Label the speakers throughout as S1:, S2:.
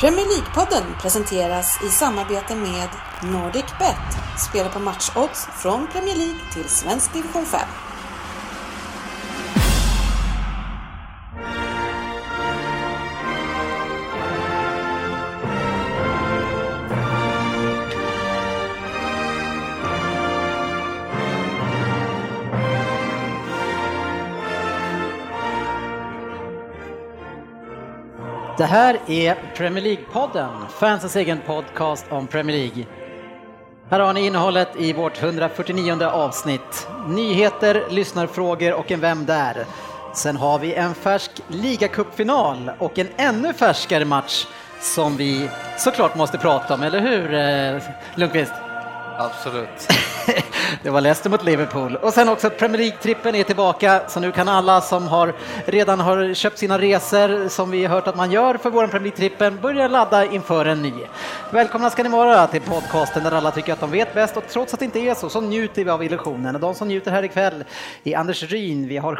S1: Premier League-podden presenteras i samarbete med NordicBet. Spela på matchodds från Premier League till svensk division 5.
S2: Det här är Premier League-podden, fansens egen podcast om Premier League. Här har ni innehållet i vårt 149 avsnitt. Nyheter, lyssnarfrågor och en Vem där? Sen har vi en färsk ligacupfinal och en ännu färskare match som vi såklart måste prata om, eller hur eh, Lundqvist?
S3: Absolut.
S2: Det var Leicester mot Liverpool. Och sen också Premier League-trippen är tillbaka, så nu kan alla som har, redan har köpt sina resor, som vi har hört att man gör för vår Premier League-trippen, börja ladda inför en ny. Välkomna ska ni vara till podcasten där alla tycker att de vet bäst och trots att det inte är så, så njuter vi av illusionen. Och de som njuter här ikväll är Anders Ryn, vi har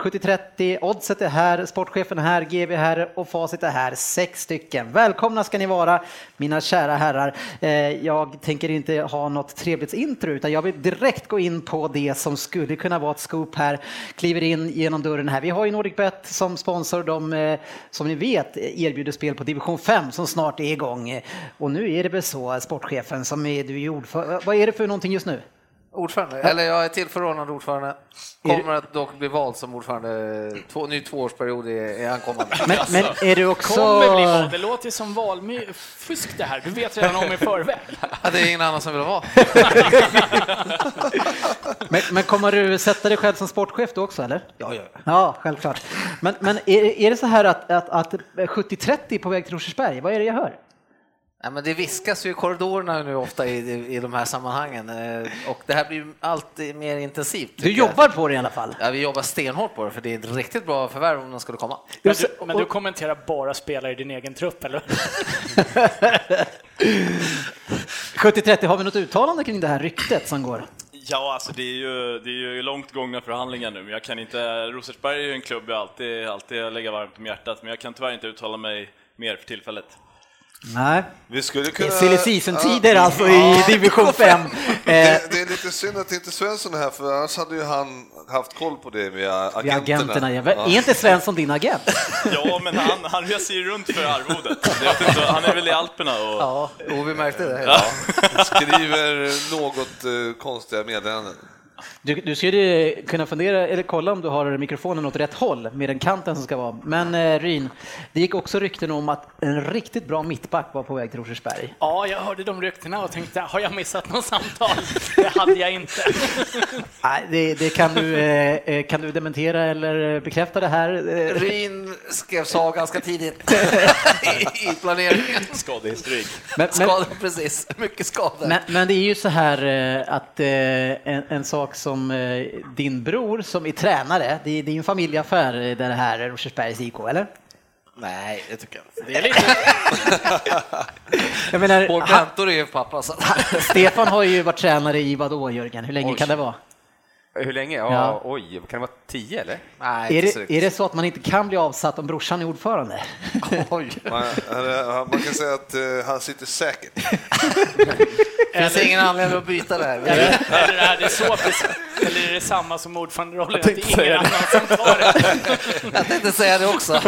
S2: 70-30, Oddset är här, sportchefen är här, GB är här och Facit är här, sex stycken. Välkomna ska ni vara, mina kära herrar. Eh, Jag tänker inte ha något trevligt intro, utan jag vill direkt gå in på det som skulle kunna vara ett scoop här. Kliver in genom dörren här. Vi har ju NordicBet som sponsor. De, eh, som ni vet, erbjuder spel på division 5 som snart är igång. Och nu är det väl så, sportchefen, som är, du är ordförande. Vad är det för någonting just nu?
S3: Ordförande, eller jag är tillförordnad ordförande. Kommer att dock bli vald som ordförande, två, ny tvåårsperiod är, är ankommande.
S2: Men, men är du också...
S4: Kommer bli val. Det låter ju som valfusk det här. Du vet redan om i förväg.
S3: Ja, det är ingen annan som vill vara.
S2: Men, men kommer du sätta dig själv som sportchef då också, eller?
S3: Ja, ja.
S2: Ja, självklart. Men, men är, är det så här att, att, att 70-30 är på väg till Rosersberg? Vad är det jag hör?
S3: Nej, men det viskas ju i korridorerna nu ofta i, i, i de här sammanhangen eh, och det här blir ju alltid mer intensivt.
S2: Du
S3: tycker
S2: jobbar på det i alla fall.
S3: Jag. Ja, vi jobbar stenhårt på det för det är ett riktigt bra förvärv om de skulle komma.
S4: Men du, men du kommenterar bara spelare i din egen trupp, eller?
S2: 70-30, har vi något uttalande kring det här ryktet som går?
S5: Ja, alltså det är ju, det är ju långt gångna förhandlingar nu, men jag kan inte... Rosersberg är ju en klubb jag alltid, alltid lägger varmt om hjärtat, men jag kan tyvärr inte uttala mig mer för tillfället.
S2: Nej.
S6: Vi skulle
S2: Det är
S6: kunna...
S2: silly season-tider alltså i division 5. Eh,
S6: Det, det är lite synd att inte Svensson är här, för annars hade ju han haft koll på det via
S2: vi
S6: agenterna.
S2: har agenterna, ja. Är inte Svensson din agent?
S5: Ja, men han, han reser ju runt för arvodet. Jag vet inte, han är väl i Alperna och...
S2: Ja.
S3: Jo, vi märkte det. Ja.
S6: Skriver något eh, konstiga meddelanden.
S2: Du, du skulle kunna fundera, eller kolla om du har mikrofonen åt rätt håll med den kanten som ska vara. Men eh, Ryn, det gick också rykten om att en riktigt bra mittback var på väg till Rosersberg.
S4: Ja, jag hörde de ryktena och tänkte, har jag missat något samtal? Det hade jag inte.
S2: Nej, det, det kan, du, eh, eh, kan du dementera eller bekräfta det här? Eh,
S3: Ryn skrev sa ganska tidigt i, i planeringen.
S5: Skadehistorik.
S2: Men, men,
S3: Skador, precis. Mycket skador.
S2: men, men det är ju så här eh, att eh, en, en sak som eh, din bror som är tränare, det, är- det är ju en familjeaffär eh, det här Rosersbergs IK, eller?
S3: Nej, det tycker jag inte.
S4: Det är lite,
S2: Jag menar,
S3: Hård
S2: han,
S3: plantor är ju pappa. Så.
S2: Stefan har ju varit tränare i vadå Jörgen, hur länge
S7: Oj.
S2: kan det vara?
S7: Hur länge? Ja,
S2: Ja.
S7: Oj, kan det vara tio eller?
S3: Nej,
S2: Är
S3: inte
S2: det,
S3: så
S2: är
S3: riktigt.
S2: det så att man inte kan bli avsatt om brorsan är ordförande?
S3: Oj.
S6: Man, eh, man kan säga att eh, han sitter säkert.
S3: Det finns ingen anledning att byta där.
S4: eller är det så? Eller är det samma som ordföranderollen? Det är ingen annan som tar det.
S3: Jag tänkte säga det också.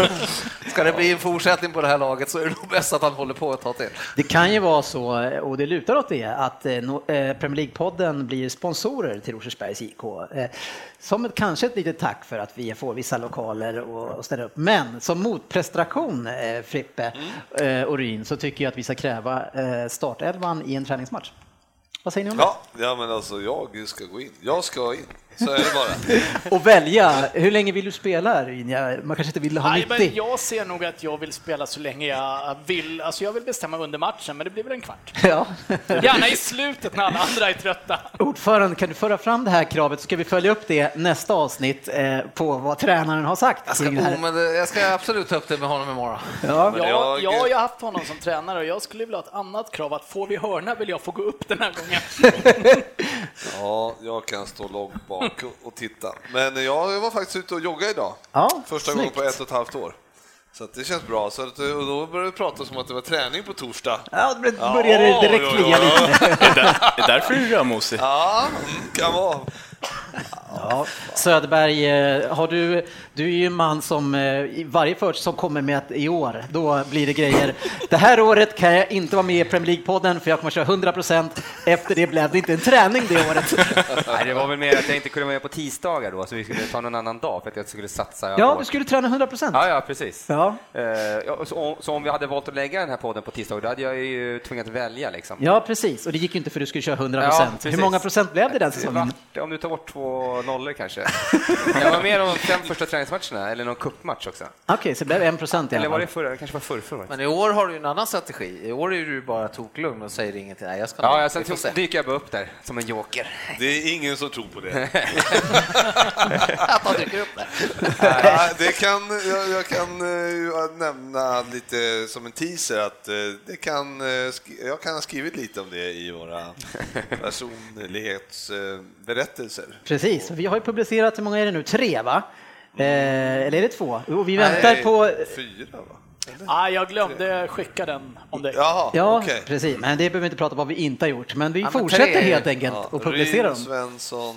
S3: Ska det bli en fortsättning på det här laget så är det nog bäst att han håller på ett tag till.
S2: Det kan ju vara så, eh, och det lutar åt det, att eh, no- eh, Premier League-podden blir sponsorer till Rosersbergs IK. eh, Som ett, kanske ett litet tack för att vi får vissa lokaler och, och ställa upp. Men som motprestation, eh, Frippe eh, och Ryn, så tycker jag att vi ska kräva eh, startelvan i en träningsmatch. Vad säger ni om det?
S6: Ja, ja, men alltså jag ska gå in. Jag ska in. Så är det bara.
S2: Och välja, hur länge vill du spela Ryn? Jag- Man kanske inte vill ha
S4: Nej,
S2: 90.
S4: men jag ser nog att jag vill spela så länge jag vill. Alltså, jag vill bestämma under matchen, men det blir väl en kvart.
S2: Ja.
S4: Gärna i slutet när alla andra är trötta.
S2: Ordförande, kan du föra fram det här kravet så ska vi följa upp det nästa avsnitt eh, på vad tränaren har sagt.
S3: Jag ska,
S2: kring det här.
S3: oh, men det- jag ska absolut ta upp det med honom imorgon.
S2: Ja.
S4: Ja, jag...
S6: jag-
S4: jag har ju haft honom som tränare och jag skulle vilja ha ett annat krav att får vi hörna vill jag få gå upp den här gången.
S6: Ja, jag kan stå långt bak och- och titta. Men jag var faktiskt ute och joggade idag.
S2: Ja,
S6: Första gången
S2: snyggt.
S6: på ett och ett halvt år. Så att det känns bra. Så att, och då började det prata som att det var träning på torsdag.
S2: Ja, det börjar det direkt
S5: Oj,
S2: klia
S5: oj, oj.
S2: lite.
S5: Är det är därför du är rödmosig?
S6: Ja, mm, kan vara.
S2: Ja. Söderberg, eh, har du, du är ju en man som eh, i varje först som kommer med att i år, då blir det grejer. Det här året kan jag inte vara med i Premier League-podden för jag kommer köra 100%. Efter det blev det inte en träning det året.
S7: Nej, det var väl mer att jag inte kunde vara med på tisdagar då, så vi skulle ta någon annan dag för att jag skulle satsa.
S2: Ja,
S7: på-
S2: du skulle träna 100%.
S7: Ja, ja, precis.
S2: Ja.
S7: Eh, ja, och så, så om vi hade valt att lägga den här podden på tisdag, då hade jag ju tvingats välja liksom.
S2: Ja, precis. Och det gick ju inte för du skulle köra 100%.
S7: precis.
S2: Hur många procent blev det den säsongen?
S7: Vart- Om du tar bort två nollor kanske. jag var med om de fem första träningsmatcherna, eller någon cupmatch också.
S2: Okej, så det blev 1% i alla
S7: Eller var det
S2: fall.
S7: förra? Det kanske var förrförra.
S3: Men i år har du ju en annan strategi. I år är du bara toklugn och säger ingenting. Nej, jag ska
S7: Ja,
S3: inte.
S7: ja,
S3: Vi får
S7: sen
S3: se.
S7: dyker jag bara upp där som en joker.
S6: Det är ingen som tror på det.
S3: Att han dyker upp där.
S6: Ja, det kan, jag, jag kan eh, ju nämna lite som en teaser att eh, det kan, eh, sk- jag kan ha skrivit lite om det i våra personlighetsberättelser.
S2: Precis, vi har ju publicerat, hur många är det nu? Tre, va? Eh, eller är det två? Och vi väntar
S6: Nej,
S2: på...
S6: Fyra, va?
S4: Ah, jag glömde skicka den om dig.
S6: Jaha,
S2: Ja,
S6: okej.
S2: precis. Men det behöver vi inte prata om vad vi inte har gjort. Men vi
S3: Ja, men
S2: fortsätter
S3: tre-
S2: helt enkelt
S6: Ja,
S2: och publicerar
S6: Ryn,
S2: dem.
S6: Svensson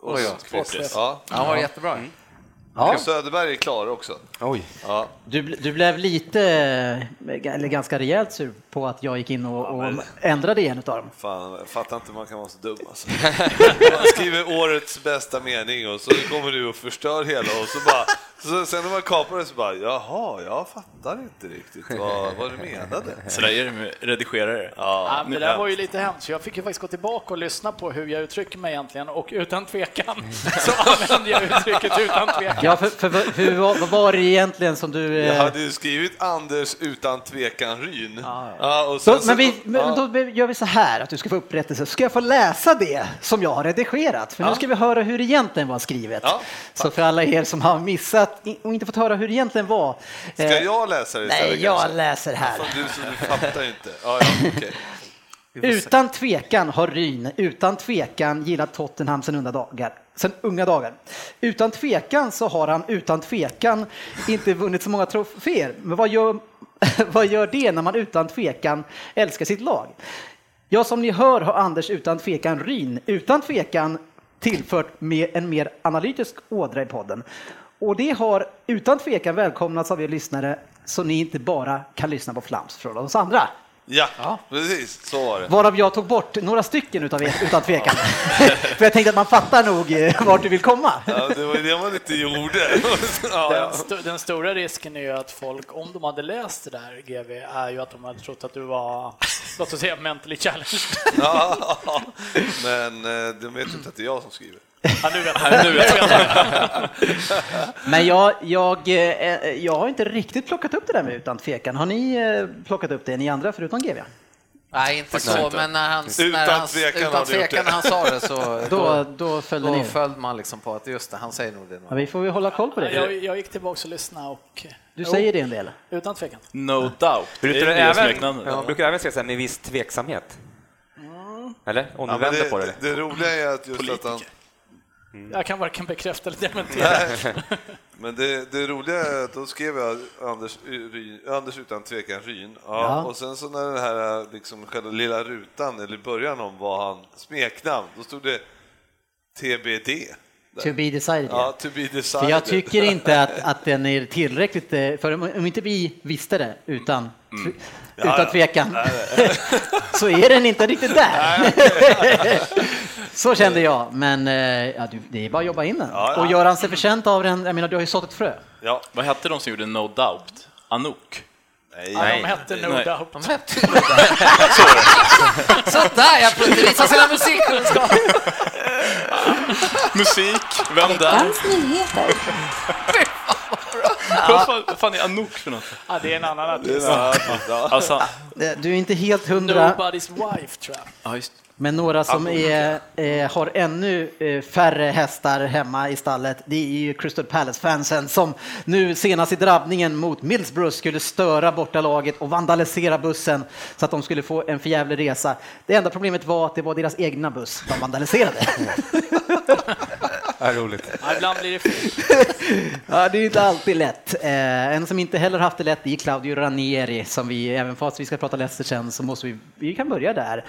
S6: och
S3: Oj, ja.
S6: Sportchef. Ja.
S3: Han var jättebra.
S7: Mm.
S2: Ja,
S6: Söderberg är klar också.
S7: Oj.
S6: Ja.
S2: du, bl- du blev lite, eh, eller ganska rejält sur på att jag gick in och, och ändrade i en utav dem.
S6: Fan, jag fattar inte hur man kan vara så dum alltså. Man skriver årets bästa mening och så kommer du och förstör hela och så bara... Så sen när man kapar det så bara, jaha, jag fattar inte riktigt vad, vad du menade.
S5: Så där är det med redigerare.
S4: Ah, men det där
S5: Ja.
S4: var ju lite hemskt, så jag fick ju faktiskt gå tillbaka och lyssna på hur jag uttrycker mig egentligen och utan tvekan så använde jag uttrycket utan tvekan.
S2: Ja, för, för, för, hur, var- vad var det egentligen som du... eh,
S6: Jag hade ju skrivit Anders utan tvekan Ryn.
S2: Ja, ja.
S6: Ja, och sen
S2: Så, men vi,
S6: alltså, ja.
S2: men då gör vi så här att du ska få upprättelse, så ska jag få läsa det som jag har redigerat. För nu ska vi höra hur det egentligen var skrivet.
S6: Ja,
S2: så för alla er som har missat i- och inte fått höra hur det egentligen var. eh,
S6: Ska jag läsa det istället,
S2: Nej, jag
S6: kanske?
S2: läser här.
S6: Fan, du, så du fattar ju inte. Ja, ja, okej.
S2: Utan tvekan har Ryn utan tvekan gillat Tottenham sen unga dagar. Sen unga dagar. Utan tvekan så har han utan tvekan inte vunnit så många troféer. Men vad gör, vad gör det när man utan tvekan älskar sitt lag? Ja, som ni hör har Anders utan tvekan Ryn utan tvekan tillfört med en mer analytisk ådra i podden. Och det har utan tvekan välkomnats av er lyssnare så ni inte bara kan lyssna på flams från oss andra.
S6: ja, precis. Så var det.
S2: Varav jag tog bort några stycken utav er, utan tvekan. För jag tänkte att man fattar nog eh, vart du vill komma.
S6: Ja, det var ju det man inte gjorde. Ja, ja.
S4: Den, sto- den stora risken är ju att folk, om de hade läst det där GV, är ju att de hade trott att du var, låt oss säga mentally challenged.
S6: Ja, men eh, de vet ju inte att det är jag som skriver.
S4: Ja, nu vet jag.
S5: Nu vet jag.
S2: Men jag, jag, eh, jag har inte riktigt plockat upp det där med utan tvekan. Har ni eh, plockat upp det, ni andra förutom GV?
S3: Nej, inte så, men när han,
S6: Utan
S3: när han,
S6: tvekan
S3: utan
S6: har du gjort
S3: tvekan när
S6: det.
S3: han sa det så
S2: Då,
S3: då,
S2: då följde
S3: då
S2: ni.
S3: följde man liksom på att just det, han säger nog det.
S2: Ja, vi får ju hålla koll på
S4: Jag,
S2: det.
S4: jag gick tillbaka och lyssnade och...
S2: Du säger det en del.
S4: Jo, Utan tvekan.
S5: No doubt.
S7: Brukar du
S5: det det
S7: även,
S5: smeknamnet?
S7: ja, brukar du även säga så här, med viss tveksamhet? Eller? Om du
S6: Ja, men
S7: vänder
S6: det,
S7: på det? eller?
S6: det roliga är att just att han...
S4: Jag kan varken bekräfta eller dementera.
S6: Men det, det roliga är att då skrev jag Anders, Ryn, Anders utan tvekan Ryn. Ja,
S2: Ja.
S6: Och sen så när den här liksom, själva lilla rutan, eller början om vad han smeknamn, då stod det TBD.
S2: To be decided.
S6: Ja,
S2: ja.
S6: to be decided.
S2: För jag tycker inte att, att den är tillräckligt, eh, för om om inte vi visste det utan,
S6: Mm.
S2: utan tvekan, så är den inte riktigt där. Så kände jag, men eh, ja, du, det är bara att jobba in den.
S6: Ja, ja.
S2: Och göra sig förtjänt av den, jag menar du har ju sått ett frö.
S6: Ja,
S5: Vad hette de som gjorde No doubt? Anouk?
S6: nej.
S4: Ja, de hette No
S5: Nej.
S4: Doubt.
S3: De hette nog det. Sådär, jag kunde visa sina musikkunskaper.
S5: Musik? Vem där?
S1: Veckans nyheter.
S5: Vad fan- vad fan är Anouk för något?
S4: Ja, det är en annan artist.
S6: Ja, ja.
S5: Alltså,
S2: Eh, Du är inte helt hundra,
S4: Nobody's Wife, tror jag.
S5: ja, just,
S2: men några som är, eh, har ännu eh, färre hästar hemma i stallet, det är ju Crystal Palace-fansen som nu senast i drabbningen mot Middlesbrough skulle störa bortalaget och vandalisera bussen så att de skulle få en förjävlig resa. Det enda problemet var att det var deras egna buss de vandaliserade.
S7: Ja, roligt.
S4: Ja, ibland blir det fel.
S2: Ja, det är inte alltid lätt. Eh, en som inte heller haft det lätt är Claudio Ranieri, som vi, även fast vi ska prata Leicester sen, så måste vi, vi kan börja där.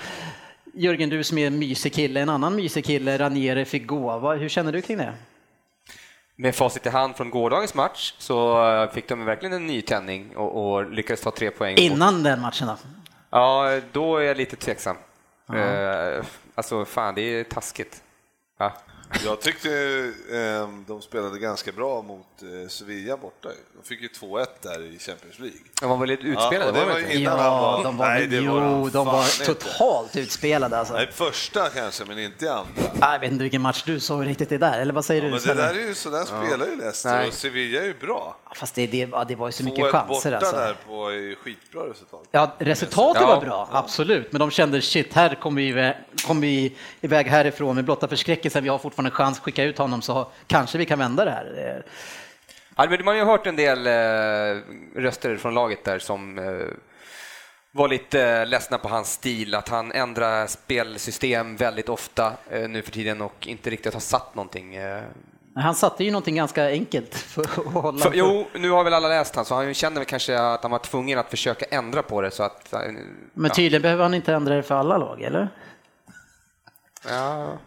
S2: Jörgen, du som är en mysig kille, en annan mysig kille, Ranieri fick gå. Vad- Hur känner du kring det?
S7: Med facit i hand från gårdagens match så eh, fick de verkligen en ny tändning och, och lyckades ta tre poäng.
S2: Innan den matchen då?
S7: Ja, då är jag lite tveksam. Eh, alltså, fan, det är taskigt. Ja.
S6: Jag tyckte eh, de spelade ganska bra mot eh, Sevilla borta. De fick ju 2-1 där i Champions League.
S7: De var väl lite utspelade,
S6: Ja, och det
S7: var de
S6: var
S7: inte?
S6: ju- Innan han var-
S2: de var,
S6: Nej, det
S2: jo,
S6: var de
S2: de
S6: fan
S2: var
S6: inte.
S2: totalt utspelade alltså.
S6: Nej, första kanske, men inte i andra.
S2: Jag vet inte vilken match du såg riktigt det där, eller vad säger du?
S6: Men det
S2: Sebbe?
S6: där är ju, så där spelar ju Leicester
S7: Nej.
S6: och Sevilla är ju bra.
S2: Fast det, det, ja, det var ju så mycket
S6: 2-1
S2: chanser
S6: borta
S2: alltså.
S6: där på är ju skitbra resultat.
S2: Ja, resultatet
S7: Ja.
S2: var bra, absolut. Men de kände shit, här kommer vi, iväg- kommer vi iväg härifrån med blotta förskräckelsen. Vi har fortfarande en chans, skicka ut honom så kanske vi kan vända det här. Eh,
S7: Ja, men man har ju hört en del eh, röster från laget där som eh, var lite eh, ledsna på hans stil, att han ändrar spelsystem väldigt ofta eh, nu för tiden och inte riktigt har satt någonting. Eh,
S2: Men Han satte ju någonting ganska enkelt för att hålla.
S7: för, jo, nu har väl alla läst han så han känner väl kanske att han var tvungen att försöka ändra på det så att... eh,
S2: Men tydligen behöver han inte ändra det för alla lag, eller?
S7: Ja.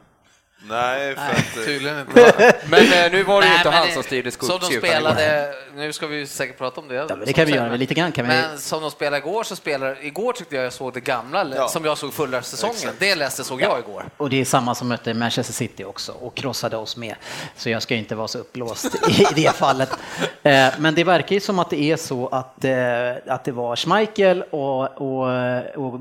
S6: Nej, för att... eh,
S3: Tydligen inte.
S7: Men eh, nu var det ju
S3: Nej,
S7: inte
S3: men
S7: han
S3: det-
S7: som styrde skog,
S3: Som de spelade, nu ska vi ju säkert prata om det. Ja,
S2: men det kan vi göra, men lite grann kan vi-
S3: Men som de spelade igår, så spelar, igår tyckte jag jag såg det gamla, Le-
S6: Ja.
S3: som jag såg förra säsongen. Det Leicester såg jag igår.
S2: Och det är samma som mötte Manchester City också och krossade oss med. Så jag ska inte vara så uppblåst i det fallet. Eh, Men det verkar ju som att det är så att, eh, att det var Schmeichel och, och, och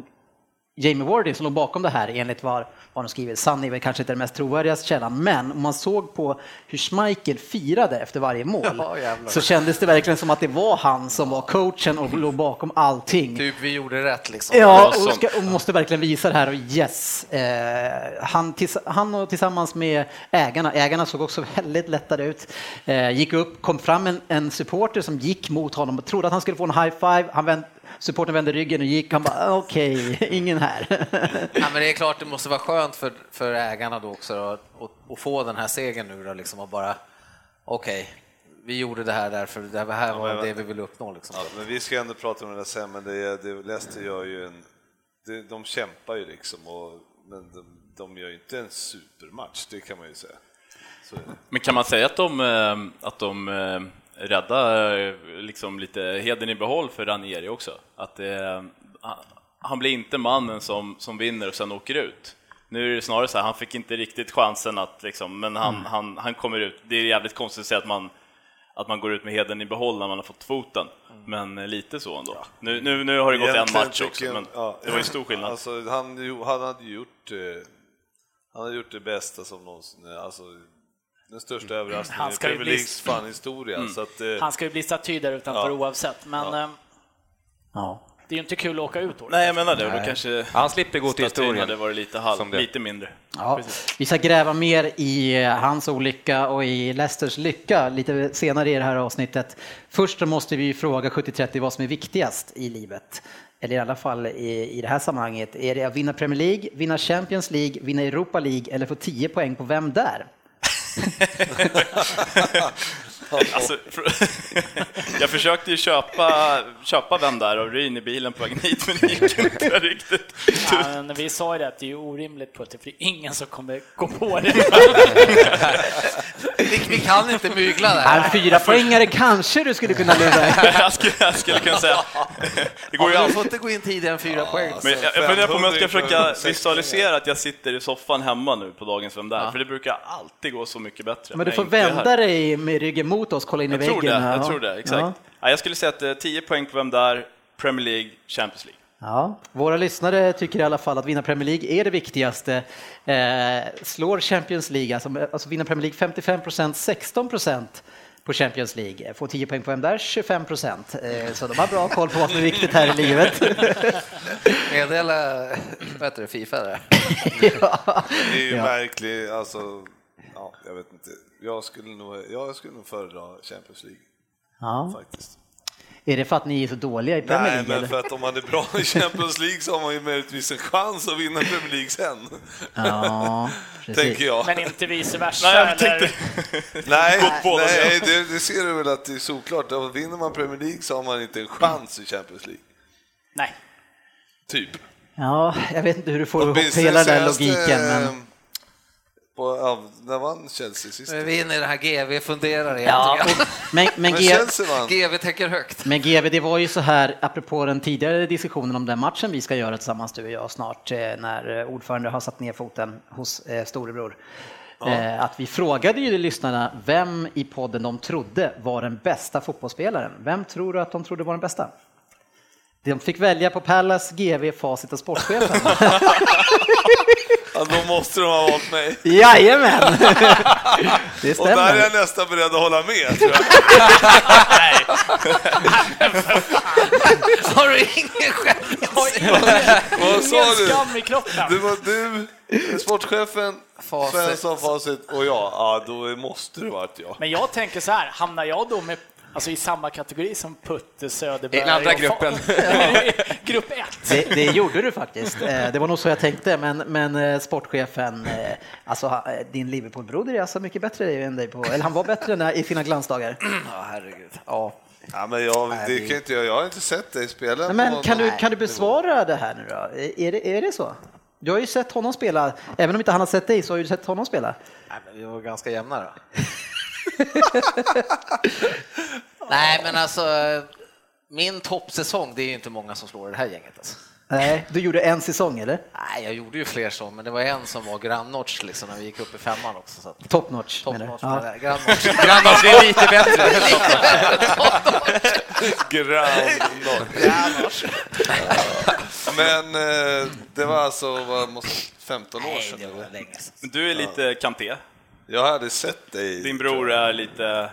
S2: Jamie Wardy som låg bakom det här enligt vad, vad de skriver. Sann är väl kanske inte den mest trovärdiga källan, men om man såg på hur Schmeichel firade efter varje mål
S3: Ja, jävlar.
S2: så kändes det verkligen som att det var han som var coachen och låg bakom allting.
S3: Typ, vi gjorde rätt liksom.
S2: Ja,
S5: Det var
S2: och, ska, och måste verkligen visa det här och yes. Eh, han, tills, han och tillsammans med ägarna, ägarna såg också väldigt lättade ut, eh, gick upp, kom fram en, en supporter som gick mot honom och trodde att han skulle få en high five. Han vänd, supporten vände ryggen och gick, han bara okej, ingen här.
S3: Ja, men det är klart det måste vara skönt för, för ägarna då också då, att, att få den här segern nu då liksom och bara okej, vi gjorde det här därför det här var det vi ville uppnå liksom.
S6: Ja, men vi ska ändå prata om det där sen, men det, det Leicester gör ju en... Det, de kämpar ju liksom, och, men de, de gör ju inte en supermatch, det kan man ju säga. Så, är det.
S5: Men kan man säga att de, eh, att de eh, räddar eh, liksom lite heden i behåll för Ranieri också? Att eh, han- han blir inte mannen som, som vinner och sen åker ut. Nu är det snarare så här, han fick inte riktigt chansen att liksom, men han, han, han kommer ut. Det är jävligt konstigt att säga att man, att man går ut med heden i behåll när man har fått foten. Men eh, lite så ändå. Nu, nu, nu har det gått en
S6: Egentligen
S5: match
S6: tycker
S5: också,
S6: jag-
S5: men
S6: ja,
S5: det var ju stor skillnad.
S6: Alltså, han, jo- han hade ju gjort, eh, han hade gjort det bästa som någonsin, eh, alltså, den största överraskningen
S4: Han
S6: i
S4: ska ju
S6: Premier
S4: bli-
S6: Leagues fan historia.
S5: Mm.
S6: Så att, eh,
S4: Han ska ju bli staty där utanför
S6: Ja.
S4: oavsett, men eh,
S2: Ja.
S4: det är ju inte kul att åka ut då.
S5: Nej, jag menar det. Och då kanske
S7: Han slipper gå till
S5: statyn hade
S7: historien.
S5: varit lite,
S7: Som
S5: halv,
S7: det.
S5: lite mindre.
S2: Ja, vi ska gräva mer i eh, hans olycka och i Leicesters lycka lite senare i det här avsnittet. Först så måste vi ju fråga 70-30 vad som är viktigast i livet. Eller i alla fall i, i det här sammanhanget. Är det att vinna Premier League, vinna Champions League, vinna Europa League eller få 10 poäng på Vem där?
S5: Alltså, för- jag försökte ju köpa, köpa den där av Ryn i bilen på vägen hit, men det gick inte riktigt.
S4: Ja, men vi sa ju det att det är ju orimligt på det, för det är ingen som kommer gå på det.
S3: Vi, vi kan inte mygla
S2: En
S5: Äh,
S3: där.
S2: Äh, fyra poängare kanske du skulle kunna lura.
S5: Jag skulle, jag skulle kunna säga, det går ju
S3: Ja, du
S5: alltid.
S3: får inte gå in tidigare än fyra poäng.
S5: Men jag, jag funderar på om jag ska
S6: 500
S5: försöka
S6: inför
S5: visualisera att jag sitter i soffan hemma nu på dagens Vem där? För det brukar alltid gå så mycket bättre.
S2: Men du
S5: när
S2: får
S5: jag inte är här.
S2: vända dig med ryggen mot oss, kolla in i
S5: Jag
S2: väggen.
S5: tror det,
S2: Ja.
S5: jag tror det, exakt.
S2: Ja.
S5: Ja, jag skulle säga att eh, 10 poäng på Vem där, Premier League, Champions League.
S2: Ja, våra lyssnare tycker i alla fall att vinna Premier League är det viktigaste. Eh, slår Champions League, alltså, alltså vinna Premier League 55 procent, 16 procent på Champions League. Får 10 poäng på vem där? 25 procent. Eh, så de har bra koll på vad som är viktigt här i livet.
S3: Meddela, vad heter det, Fifa där.
S2: ja.
S6: Det är ju
S2: Ja.
S6: märkligt, alltså, ja, jag vet inte. Jag skulle nog, jag skulle nog föredra Champions League
S2: Ja.
S6: faktiskt.
S2: Är det för att ni är så dåliga i Premier
S6: Nej,
S2: League?
S6: men för
S2: eller?
S6: att om man är bra i Champions League så har man ju möjligtvis en chans att vinna Premier League sen.
S2: Ja, precis.
S6: Tänker jag.
S4: Men inte vice versa?
S5: Nej, jag
S4: eller?
S5: tänkte...
S6: Nej,
S5: båda
S6: nej det, det ser du väl att det är såklart. Vinner man Premier League så har man inte en chans i Champions League.
S4: Nej.
S6: Typ.
S2: Ja, jag vet inte hur du får ihop
S6: Åtminstone
S2: hela den där
S6: senaste,
S2: logiken.
S6: eh,
S2: Men...
S6: På, ja, när vann Chelsea sist?
S3: Vi är inne i det här GV funderar igen.
S2: Ja,
S3: tycker
S2: och, men, men,
S6: Men
S2: G,
S6: Chelsea vann.
S3: jag. GV tänker högt.
S2: men GV, det var ju så här, apropå den tidigare diskussionen om den matchen vi ska göra tillsammans du och jag snart, eh, när eh, ordförande har satt ner foten hos eh, storebror. Eh, Att vi frågade ju lyssnarna vem i podden de trodde var den bästa fotbollsspelaren. Vem tror du att de trodde var den bästa? De fick välja på Pallas, GV, Facit och Sportchefen.
S6: Ja, då måste de ha valt mig.
S2: Jajamän! Det
S6: Och där är
S2: stämmer.
S6: jag nästan beredd att hålla med. Tror jag.
S3: Har du ingen själv?
S6: Vad sa
S4: Ingen
S6: du?
S4: skam i kroppen.
S6: Det var du, sportchefen,
S3: Facit.
S6: Svensson, Facit och jag. Ja, då måste det varit jag.
S4: Men jag tänker så här, hamnar jag då med, alltså i samma kategori som Putte, Söderberg
S7: I den andra
S4: och Fa-
S7: gruppen.
S4: Grupp ett.
S2: Det, det gjorde du faktiskt. Eh, Det var nog så jag tänkte, men, men eh, sportchefen, eh, alltså ha- eh, din Liverpoolbroder är alltså mycket bättre än dig på, eller han var bättre än dig i sina glansdagar.
S3: Ja, herregud. Ja.
S6: Ja, men jag, det kan inte jag, jag har inte sett dig spela.
S2: Nej,
S6: på-
S2: Men kan du, kan du besvara det här nu då? Eh, Är det, är det så? Du har ju sett honom spela, även om inte han har sett dig så har du sett honom spela.
S3: Nej, men vi var ganska jämna då. Nej, men alltså min toppsäsong, det är ju inte många som slår det här gänget. Alltså.
S2: Nej, du gjorde en säsong eller?
S3: Nej, jag gjorde ju fler så, men det var en som var grannotch liksom när vi gick upp i femman också. Så att,
S2: Top notch. menar du?
S3: toppnotch,
S2: Ja.
S3: ja. grannotch.
S7: Grannars det är lite bättre.
S6: Grannor. Men eh, det var alltså vad, måste, 15 år
S3: Nej,
S6: sedan.
S3: det var
S6: eller?
S3: länge sedan.
S5: Du är lite Kanté.
S6: Jag hade sett dig.
S5: Din bror är lite...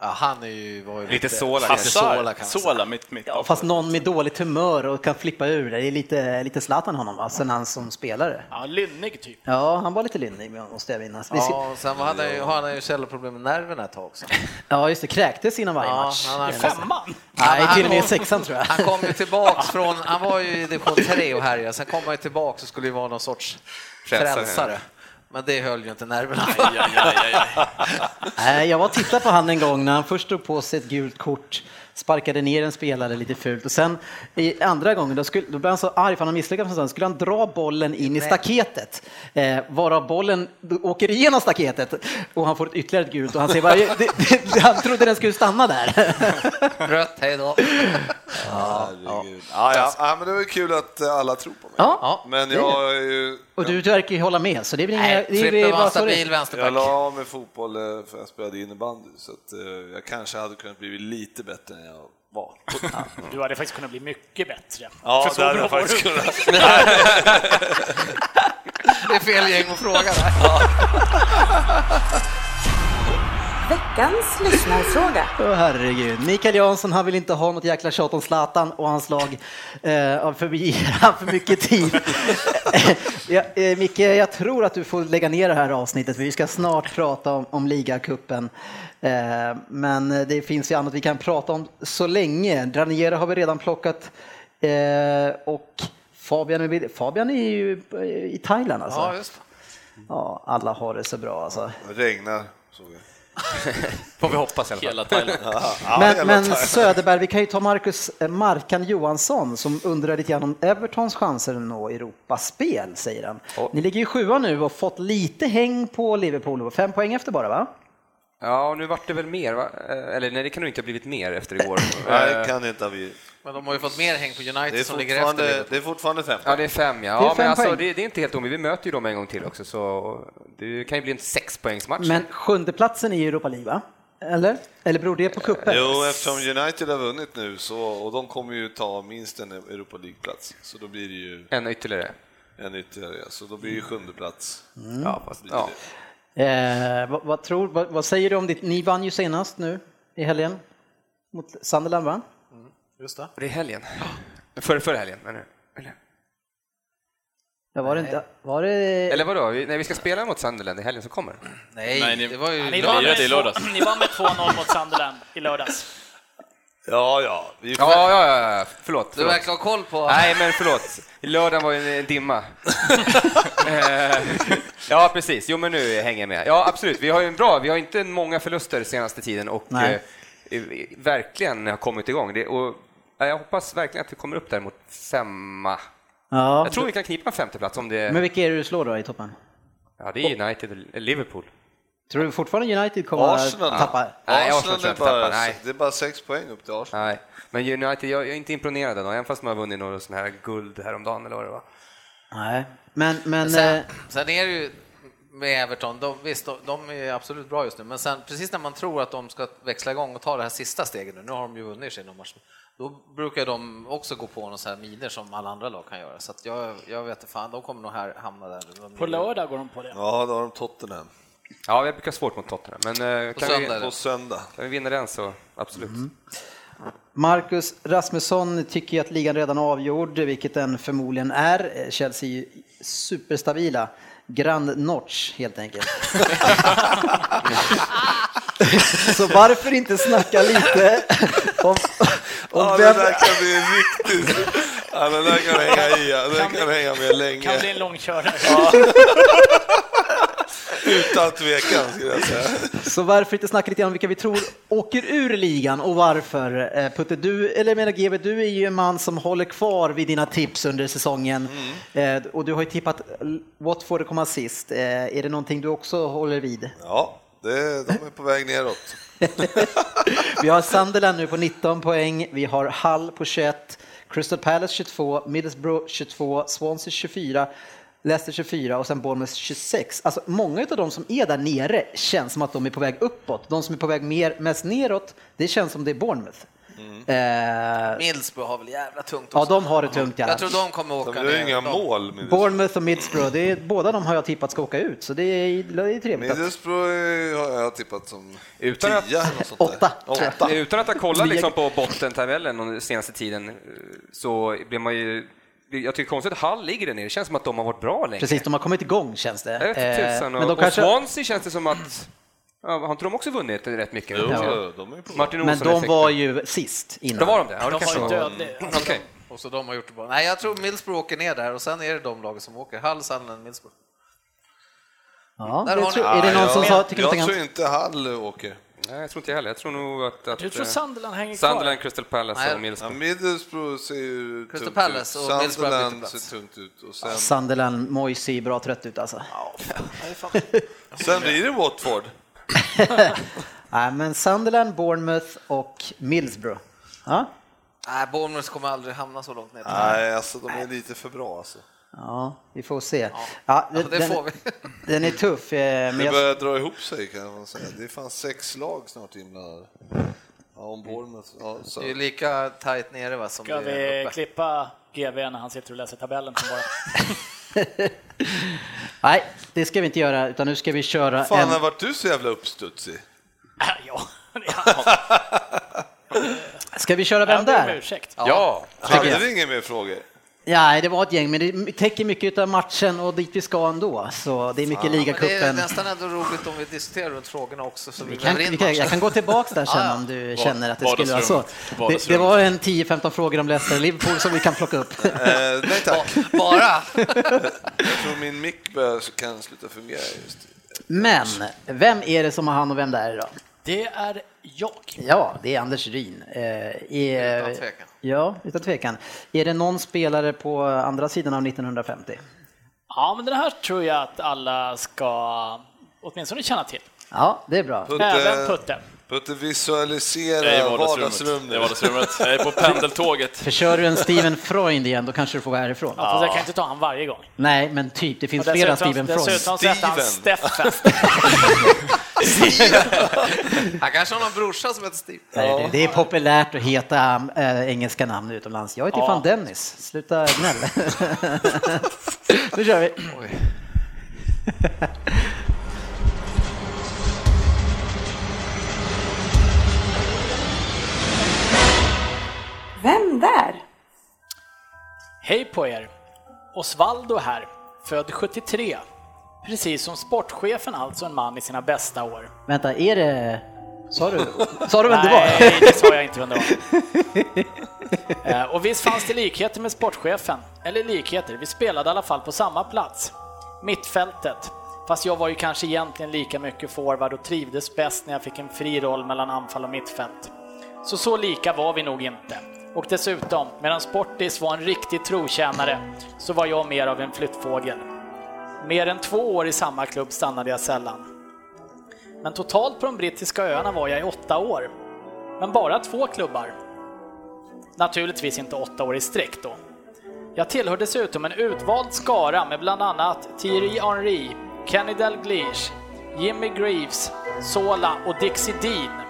S3: Ja, han är ju, var ju
S7: Lite Sola
S3: lite
S7: kanske.
S3: Sola, kan man säga.
S5: Sola, mitt, mitt.
S2: Fast någon med dåligt humör och kan flippa ur det. Det är lite, lite Zlatan honom, va? sen han som spelare.
S4: Ja, lynnig typ.
S2: Ja, han var lite lynnig måste jag minnas. Vi ska-
S3: Ja, och sen hade han ju, har han ju källorproblem med nerverna ett tag också.
S2: Ja, just det. Kräktes innan varje
S3: Ja,
S2: match.
S3: han har-
S4: Femman?
S2: Nej,
S3: Han-
S2: till och med i
S3: han-
S2: sexan tror jag.
S3: Han kom ju tillbaks från, han var ju i division 3 och härjade, sen kom han ju tillbaks och skulle ju vara någon sorts
S7: Frälsare.
S3: frälsare. Men det höll ju inte nerverna.
S2: Nej, jag var och tittade på han en gång när han först drog på sig ett gult kort, sparkade ner en spelare lite fult och sen i andra gången då, skulle, då blev han så arg för han hade misslyckats med sånt, skulle han dra bollen in i staketet, eh, varav bollen åker igenom staketet och han får ett ytterligare ett gult och han säger bara, "Det- det- det- han trodde den skulle stanna där.
S3: Rött, hej då.
S6: Herregud. Ja, ja. ja, men det var ju kul att eh, alla tror på mig.
S2: Ja,
S6: Men
S2: det är det.
S6: jag är ju...
S2: Och du verkar ju hålla med, så det är väl inga...
S3: Nej,
S2: det är
S3: Frippe
S2: väl
S3: var
S2: bara
S3: en
S2: så det är.
S3: stabil
S6: Jag la
S3: vänsterback.
S6: av med fotboll eh, för jag spelade innebandy, så att, eh, jag kanske hade kunnat bli lite bättre än jag var.
S4: Du hade faktiskt kunnat bli mycket bättre.
S6: Ja,
S4: För så
S6: det hade
S4: bra
S6: jag
S4: var
S6: faktiskt
S4: du.
S6: kunnat.
S3: Det är fel gäng att fråga där.
S1: Veckans lyssnarfråga.
S2: Åh herregud. Mikael Jansson han vill inte ha något jäkla tjat om Zlatan och hans lag. Eh, för vi ger han för mycket tid. ja, eh, Micke, jag tror att du får lägga ner det här avsnittet för vi ska snart prata om, om ligacupen. Eh, men det finns ju annat vi kan prata om så länge. Draniera har vi redan plockat eh, och Fabian, är vid- Fabian är ju eh, i Thailand alltså.
S3: Ja,
S2: Ja,
S3: just det.
S2: alla har det så bra alltså.
S6: Det regnar, såg jag.
S7: Får vi hoppas i alla fall.
S5: Hela Thailand.
S6: Ja,
S2: Men,
S6: jävla
S2: men
S6: tar-
S2: Söderberg, vi kan ju ta Marcus eh, Markan Johansson som undrar lite grann om Evertons chanser att nå Europaspel, säger han. Ni ligger ju sjua nu och fått lite häng på Liverpool, fem poäng efter bara va?
S7: Ja, och nu vart det väl mer, va? Eh, Eller nej, det kan nog inte ha blivit mer efter igår.
S6: Nej, kan inte ha blivit.
S3: Men de har ju fått mer häng på
S6: Det är
S3: United som ligger efter.
S6: fortfarande,
S3: Liverpool.
S6: det är fortfarande fem.
S7: Ja, det är fem ja.
S2: Det är
S7: ja
S2: fem
S7: men alltså,
S2: poäng.
S7: det, det är inte helt omöjligt. Vi möter ju dem en gång till också, så det kan ju bli en sexpoängsmatch.
S2: Men sjundeplatsen i Europa League va? Eller? Eller beror det på cupen?
S6: Jo, eftersom United har vunnit nu så, och de kommer ju ta minst en Europa League-plats, så då blir det ju
S7: En ytterligare.
S6: en ytterligare, så då blir det ju sjunde plats.
S7: Ja, fast,
S2: Alltså,
S7: ja.
S2: Eh, vad, vad, tror, vad, vad säger du om ditt, ni vann ju senast nu i helgen mot Sunderland va?
S7: Det är helgen. För, för helgen, menar du? Eller?
S2: Ja, var det inte, var det,
S7: Eller vadå? Vi, nej, vi ska spela mot Sunderland i helgen som kommer.
S3: Nej,
S5: Nej, ni-
S3: det var ju...
S5: Ni vann.
S4: med
S5: lirade i lördags.
S4: två- ni vann med 2-0 mot Sunderland i lördags.
S6: Ja, ja. Vi får...
S7: Ja, ja, ja, ja. Förlåt.
S3: Du
S7: förlåt.
S3: verkar ha koll på...
S7: Nej, men förlåt. Lördagen var ju en dimma. Eh, ja, precis. Jo, men nu hänger jag med. Ja, absolut. Vi har ju en bra, vi har inte många förluster senaste tiden och
S2: Nej.
S7: eh, verkligen har kommit igång. Det, och, ja, jag hoppas verkligen att vi kommer upp där mot femma.
S2: Ja.
S7: Jag tror vi kan knipa en femteplats om det...
S2: Men vilka är det du slår då i toppen?
S7: Ja, det är United och Liverpool.
S2: Tror du fortfarande United kommer
S6: Arsenal.
S2: att tappa?
S7: Nej, jag har
S6: Arsenal
S7: svårt
S6: är
S7: att tappa,
S6: bara,
S7: nej.
S6: det är bara sex poäng upp till Arsenal.
S7: Nej, men United, jag, jag är inte imponerad ändå, även fast de har vunnit några sådana här guld häromdagen eller vad det var.
S2: Nej. Men, men eh,
S3: Sen, sen är det ju med Everton, de, visst, de, de är absolut bra just nu, men sen precis när man tror att de ska växla igång och ta det här sista steget nu, nu har de ju vunnit sina matcher, då brukar de också gå på några så här miner som alla andra lag kan göra. Så att jag, jag vet inte fan, de kommer nog här, hamna där. De-
S4: På lördag går de på det.
S6: Ja, då har de Tottenham.
S7: Ja, vi brukar ha svårt mot Tottenham, men eh, kan, vi,
S3: söndag.
S7: kan
S6: På söndag.
S7: vi vinna den så absolut.
S2: Mm. Marcus Rasmusson tycker ju att ligan redan är avgjord, vilket den förmodligen är. Eh, Chelsea är ju superstabila. Grand notch helt enkelt. Så varför inte snacka lite om, om
S6: Ja,
S2: vem...
S6: den där kan bli riktigt... Ja, den där kan hänga i. ja. Den kan hänga med
S4: Kan
S6: länge.
S4: bli en långkörare.
S6: Utan tvekan, skulle jag säga.
S2: Så varför inte snacka lite grann om vilka vi tror åker ur ligan och varför? Eh, Putte, du, eller jag menar GB, du är ju en man som håller kvar vid dina tips under säsongen Eh, och du har ju tippat l- Watford komma sist. Eh, Är det någonting du också håller vid?
S6: Ja, det, de är på väg neråt.
S2: Vi har Sunderland nu på 19 poäng, vi har Hull på 21, Crystal Palace 22, Middlesbrough 22, Swansea 24, Leicester 24 och sen Bournemouth 26. Alltså många av de som är där nere känns som att de är på väg uppåt. De som är på väg mer, mest neråt, det känns som det är Bournemouth.
S3: Mm.
S2: Eh,
S3: Middlesbrough har väl jävla tungt också.
S2: ja, de har det tungt i alla
S3: Jag
S2: fall.
S3: tror de kommer åka
S6: De gör ju
S3: ner.
S6: inga
S3: De-
S6: mål. Middlesbrough.
S2: Bournemouth och Middlesbrough, det är, båda de har jag tippat ska åka ut, så det är, det är trevligt. Att,
S6: Middlesbrough är- har jag tippat som
S7: Utan att-
S6: tia eller något sånt
S2: Åtta.
S6: där. Åtta.
S7: Utan att ha kollat liksom på bottentabellen den senaste tiden eh, så blir man ju... Jag tycker konstigt att Hall ligger där nere, det känns som att de har varit bra länge.
S2: precis, de har kommit igång känns det.
S7: Jag vet inte
S2: Eh,
S7: tusan.
S2: men
S7: Och,
S2: de kanske,
S7: och Swansea känns det som att... Ja, har inte de också vunnit rätt mycket?
S6: Jo,
S7: Ja.
S6: de är ju på
S7: Martin
S2: men
S7: Olsson
S2: de var ju sist innan.
S7: Då var de det? Ja, det
S4: De
S7: kanske
S4: har ju
S7: var.
S4: dödlig.
S7: Okej.
S3: Och så de har gjort det bra. Nej, jag tror Middlesbrough åker ner där och sen är det de lagen som åker. Hull, Sunderland, Middlesbrough.
S2: Ja,
S3: Där
S2: det
S3: har
S2: tror,
S3: ni-
S2: är det någon som sa,
S6: jag,
S2: tycker
S6: jag
S2: någonting
S6: tror
S2: annat?
S6: inte Hall åker.
S7: Nej, jag tror inte jag heller. Jag tror nog att... att
S4: Du tror
S7: eh,
S4: Sunderland hänger
S7: Sunderland,
S4: kvar?
S7: Crystal Palace
S3: Nej.
S7: och
S6: Ja,
S7: Middlesbrough.
S6: Middlesbrough ser ju
S3: Crystal
S6: tungt
S3: Palace
S6: ut.
S3: och Middlesbrough byter
S6: Sunderland
S3: plats.
S6: ser tungt ut. Och sen,
S2: Sunderland, Moise, bra trött ut alltså.
S6: sen blir det Watford.
S2: Nej, men Sunderland, Bournemouth och Middlesbrough. Ja,
S3: Nej, Bournemouth kommer aldrig hamna så långt ner.
S6: Nej, alltså de är lite för bra alltså.
S2: ja vi får se. Ja,
S3: Ja, det
S2: den,
S3: får vi.
S2: den är tuff. eh, Men
S6: Det
S2: jag,
S6: börjar dra ihop sig kan man säga. Det är fan sex lag snart inblandade. Ja, om Bournemouth. Ja, så.
S3: Det är ju lika tajt nere va, som
S4: Ska
S3: det är
S4: vi
S3: uppe.
S4: klippa GV när han sitter och läser tabellen? Som bara...
S2: nej, det ska vi inte göra, utan nu ska vi köra
S6: Fan, har
S2: en...
S6: varit du så jävla uppstudsig?
S4: Ah, ja, ja.
S2: Ska vi köra vem
S4: Jag ber om
S2: där?
S4: ursäkt.
S7: Ja!
S6: Hade vi inga mer frågor?
S2: Nej, det var ett gäng, men det täcker mycket av matchen och dit vi ska ändå. Så det är mycket
S3: Men det är
S2: ligacupen.
S3: nästan ändå roligt om vi diskuterar runt frågorna också. Så vi
S2: Vi kan,
S3: väver in
S2: vi kan, jag
S3: matchen.
S2: kan gå tillbaks där sen
S3: Ja, ja.
S2: om du
S5: Var-
S2: känner att det skulle vara så.
S5: vardagsrummet.
S2: Det, det
S5: Vardagsrummet.
S2: var en 10-15 frågor om Leicester och Liverpool som vi kan plocka upp.
S6: Eh, nej tack.
S3: Bara!
S6: Jag tror min mick börjar, så kan sluta fungera just nu.
S2: Men vem är det som har hand om vem det är idag?
S4: Det är jag.
S2: Ja, det är Anders Ryn. Eh, är,
S3: Utan tvekan.
S2: Ja, utan tvekan. Är det någon spelare på andra sidan av 1950?
S4: Ja, men den här tror jag att alla ska åtminstone känna till.
S2: Ja, det är bra.
S4: Även Putte.
S6: Putte
S5: Jag är i
S6: visualisera
S5: vardagsrummet.
S6: vardagsrummet.
S5: Jag är, i vardagsrummet. jag är på pendeltåget.
S2: För kör du en Steven Freund igen, då kanske du får gå härifrån.
S4: Ja, fast jag kan inte ta han varje gång.
S2: Nej, men typ, det finns
S4: Och
S2: flera
S4: dessutom-
S2: Steven Freund.
S4: Dessutom så heter han
S6: Steven.
S4: Steffen.
S3: Han kanske har någon brorsa som heter Steve.
S2: Nej, det, det är populärt att heta äh, engelska namn utomlands. Jag heter
S4: Ja.
S2: fan Dennis. Sluta gnäll. nu kör vi.
S8: Vem där?
S4: Hej på er! Osvaldo här, född 73. Precis som sportchefen alltså en man i sina bästa år.
S2: Vänta, är det Sa du, sa du vem det var?
S4: Nej, det sa jag inte vem det var. Eh, Och visst fanns det likheter med sportchefen, eller likheter, vi spelade i alla fall på samma plats. Mittfältet. Fast jag var ju kanske egentligen lika mycket forward och trivdes bäst när jag fick en fri roll mellan anfall och mittfält. Så så lika var vi nog inte. Och dessutom, medan Sportis var en riktig trotjänare, så var jag mer av en flyttfågel. Mer än två år i samma klubb stannade jag sällan. Men totalt på de brittiska öarna var jag i åtta år. Men bara två klubbar. Naturligtvis inte åtta år i sträck då. Jag tillhör dessutom en utvald skara med bland annat Thierry Henry, Kenny Dalglish, Jimmy Greaves, Sola och Dixie Dean.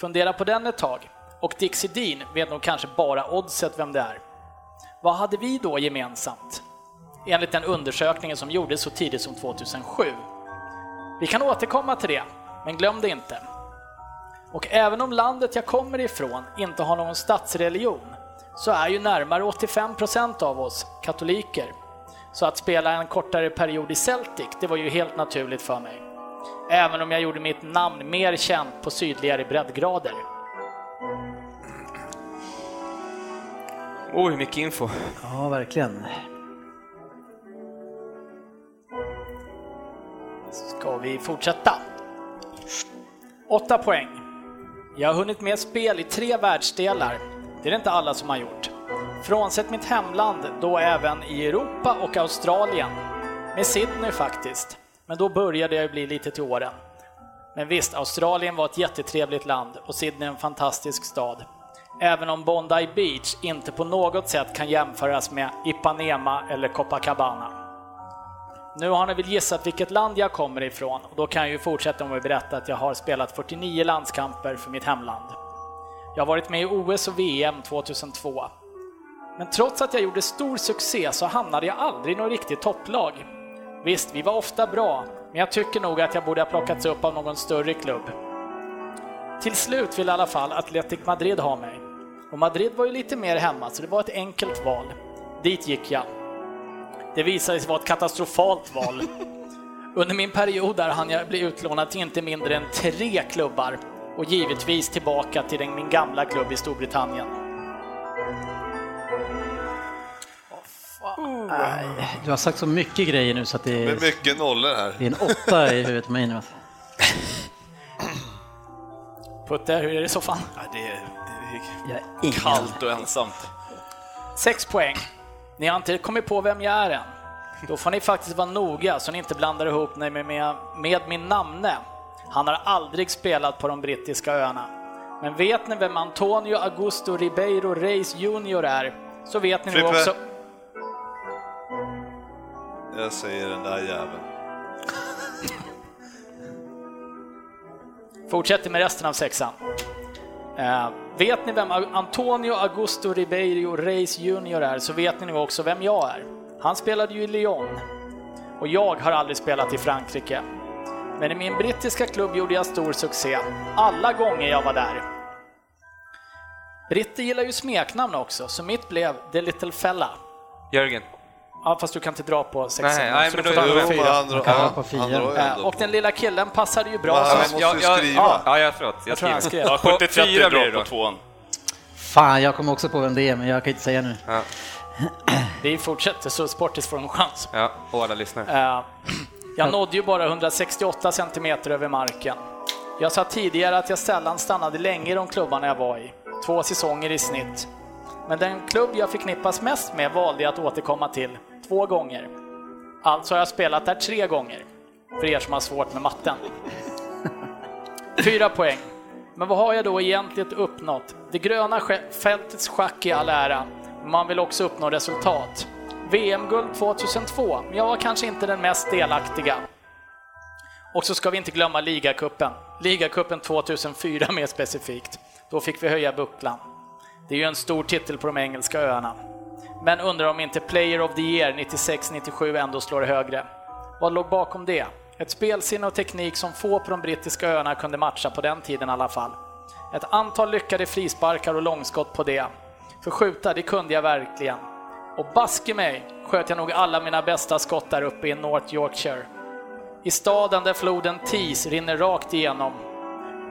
S4: Fundera på den ett tag. Och Dixie Dean vet nog kanske bara oddset vem det är. Vad hade vi då gemensamt? Enligt den undersökningen som gjordes så tidigt som 2007. Vi kan återkomma till det, men glöm det inte. Och även om landet jag kommer ifrån inte har någon statsreligion, så är ju närmare 85% av oss katoliker. Så att spela en kortare period i Celtic, det var ju helt naturligt för mig. Även om jag gjorde mitt namn mer känt på sydligare breddgrader.
S7: Oj, mycket info.
S2: Ja, verkligen.
S4: Ska vi fortsätta? 8 poäng. Jag har hunnit med spel i tre världsdelar. Det är det inte alla som har gjort. Frånsett mitt hemland, då även i Europa och Australien. Med Sydney faktiskt. Men då började jag ju bli lite till åren. Men visst, Australien var ett jättetrevligt land och Sydney en fantastisk stad. Även om Bondi Beach inte på något sätt kan jämföras med Ipanema eller Copacabana. Nu har ni väl gissat vilket land jag kommer ifrån och då kan jag ju fortsätta om att berätta att jag har spelat 49 landskamper för mitt hemland. Jag har varit med i OS och VM 2002. Men trots att jag gjorde stor succé så hamnade jag aldrig i något riktigt topplag. Visst, vi var ofta bra, men jag tycker nog att jag borde ha plockats upp av någon större klubb. Till slut vill i alla fall Athletic Madrid ha mig. Och Madrid var ju lite mer hemma, så det var ett enkelt val. Dit gick jag. Det visade sig vara ett katastrofalt val. Under min period där hann jag bli utlånad till inte mindre än tre klubbar och givetvis tillbaka till den- min gamla klubb i Storbritannien.
S2: Nej, Du har sagt så mycket grejer nu så att det
S6: Med
S2: är,
S6: mycket nollor här.
S2: det är en åtta i huvudet på mig nu.
S4: Putte, hur är det i soffan?
S5: Ja, det, det
S2: Jag har
S5: är
S2: ingen
S5: kallt och ensamt.
S4: Sex poäng. Ni har inte kommit på vem jag är än. Då får ni faktiskt vara noga så ni inte blandar ihop mig med, med, med min namne. Han har aldrig spelat på de brittiska öarna. Men vet ni vem Antonio Augusto Ribeiro Reis Junior är, så vet ni nog
S6: Frippe.
S4: också...
S6: Jag säger den där jäveln.
S4: Fortsätter med resten av sexan. Eh, vet ni vem Antonio Augusto Ribeiro Reis Junior är så vet ni nog också vem jag är. Han spelade ju i Lyon. Och jag har aldrig spelat i Frankrike. Men i min brittiska klubb gjorde jag stor succé. Alla gånger jag var där. Britter gillar ju smeknamn också, så mitt blev The Little Fella.
S7: Jörgen.
S4: Ja, fast du kan inte dra på sexan.
S7: Nej, nej,
S4: så
S7: men
S4: du
S7: då
S4: får
S7: är
S4: ta
S7: det
S4: på
S6: Jo, men
S4: fyra.
S6: han drar-
S2: kan vara
S6: ja,
S2: på fyra.
S6: han drar ju
S4: Eh,
S6: ändå
S4: Och den lilla killen passade ju bra
S6: Men
S4: som
S6: han måste ju skriva.
S7: Ja, ja, jag förlåt. Jag,
S4: Jag tror han
S7: skriver.
S4: skrev.
S5: Ja,
S7: På
S5: 70-30
S7: fyra blir det
S5: drar på
S7: då.
S5: tvåan.
S2: Fan, jag kommer också på vem det är, men jag kan inte säga nu.
S4: Vi fortsätter så Sportis får en chans.
S7: Ja, och alla lyssnar.
S4: Eh, Jag nådde ju bara 168 centimeter över marken. Jag sa tidigare att jag sällan stannade länge i de klubbarna jag var i. Två säsonger i snitt. Men den klubb jag förknippas mest med valde jag att återkomma till två gånger. Alltså har jag spelat där tre gånger. För er som har svårt med matten. Fyra poäng. Men vad har jag då egentligen uppnått? Det gröna skä- fältets schack i all ära, men man vill också uppnå resultat. VM-guld 2002, men jag var kanske inte den mest delaktiga. Och så ska vi inte glömma ligacupen. Ligacupen 2004 mer specifikt. Då fick vi höja bucklan. Det är ju en stor titel på de engelska öarna. Men undrar om inte Player of the Year 96-97 ändå slår högre. Vad låg bakom det? Ett spelsinne och teknik som få på de brittiska öarna kunde matcha på den tiden i alla fall. Ett antal lyckade frisparkar och långskott på det. För skjuta, det kunde jag verkligen. Och baske mig sköt jag nog alla mina bästa skott där uppe i North Yorkshire. I staden där floden Tees rinner rakt igenom.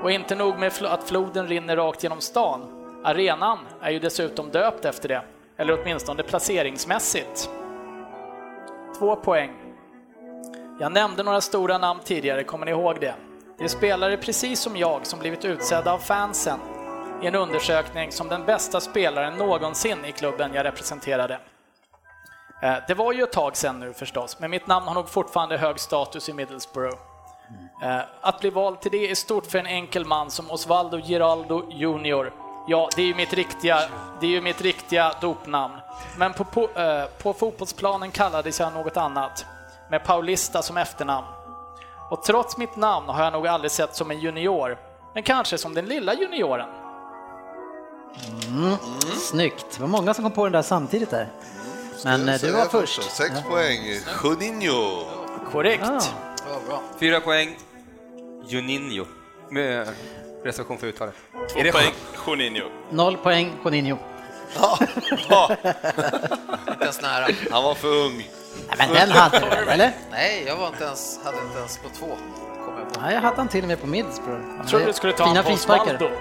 S4: Och inte nog med fl- att floden rinner rakt genom stan. Arenan är ju dessutom döpt efter det, eller åtminstone placeringsmässigt. Två poäng. Jag nämnde några stora namn tidigare, kommer ni ihåg det? Det är spelare precis som jag som blivit utsedda av fansen i en undersökning som den bästa spelaren någonsin i klubben jag representerade. Eh, Det var ju ett tag sedan nu förstås, men mitt namn har nog fortfarande hög status i Middlesbrough. Eh, Att bli vald till det är stort för en enkel man som Osvaldo Giraldo Junior. Ja, det är ju mitt riktiga, det är ju mitt riktiga dopnamn. Men på, på, eh, på fotbollsplanen kallades jag något annat, med Paulista som efternamn. Och trots mitt namn har jag nog aldrig sett som en junior, men kanske som den lilla junioren.
S2: Snyggt. Det var många som kom på den där samtidigt där. Men eh, du var först.
S6: Sex poäng. Juninho.
S4: Korrekt.
S2: Ah.
S7: Fyra poäng. Juninho. Med reservation för uttalet.
S5: Två poäng, Juninho.
S2: Noll poäng, Juninho.
S3: Inte ens nära.
S6: Han var för ung.
S2: Nej, men den hade du väl, eller?
S3: Nej, jag var inte ens, hade inte ens på två. Kom jag på.
S2: Nej, jag hade han till och med på Middlesbrough.
S4: Jag trodde du skulle ta
S2: Fina
S4: honom på
S2: frisparkar.
S4: Osvaldo.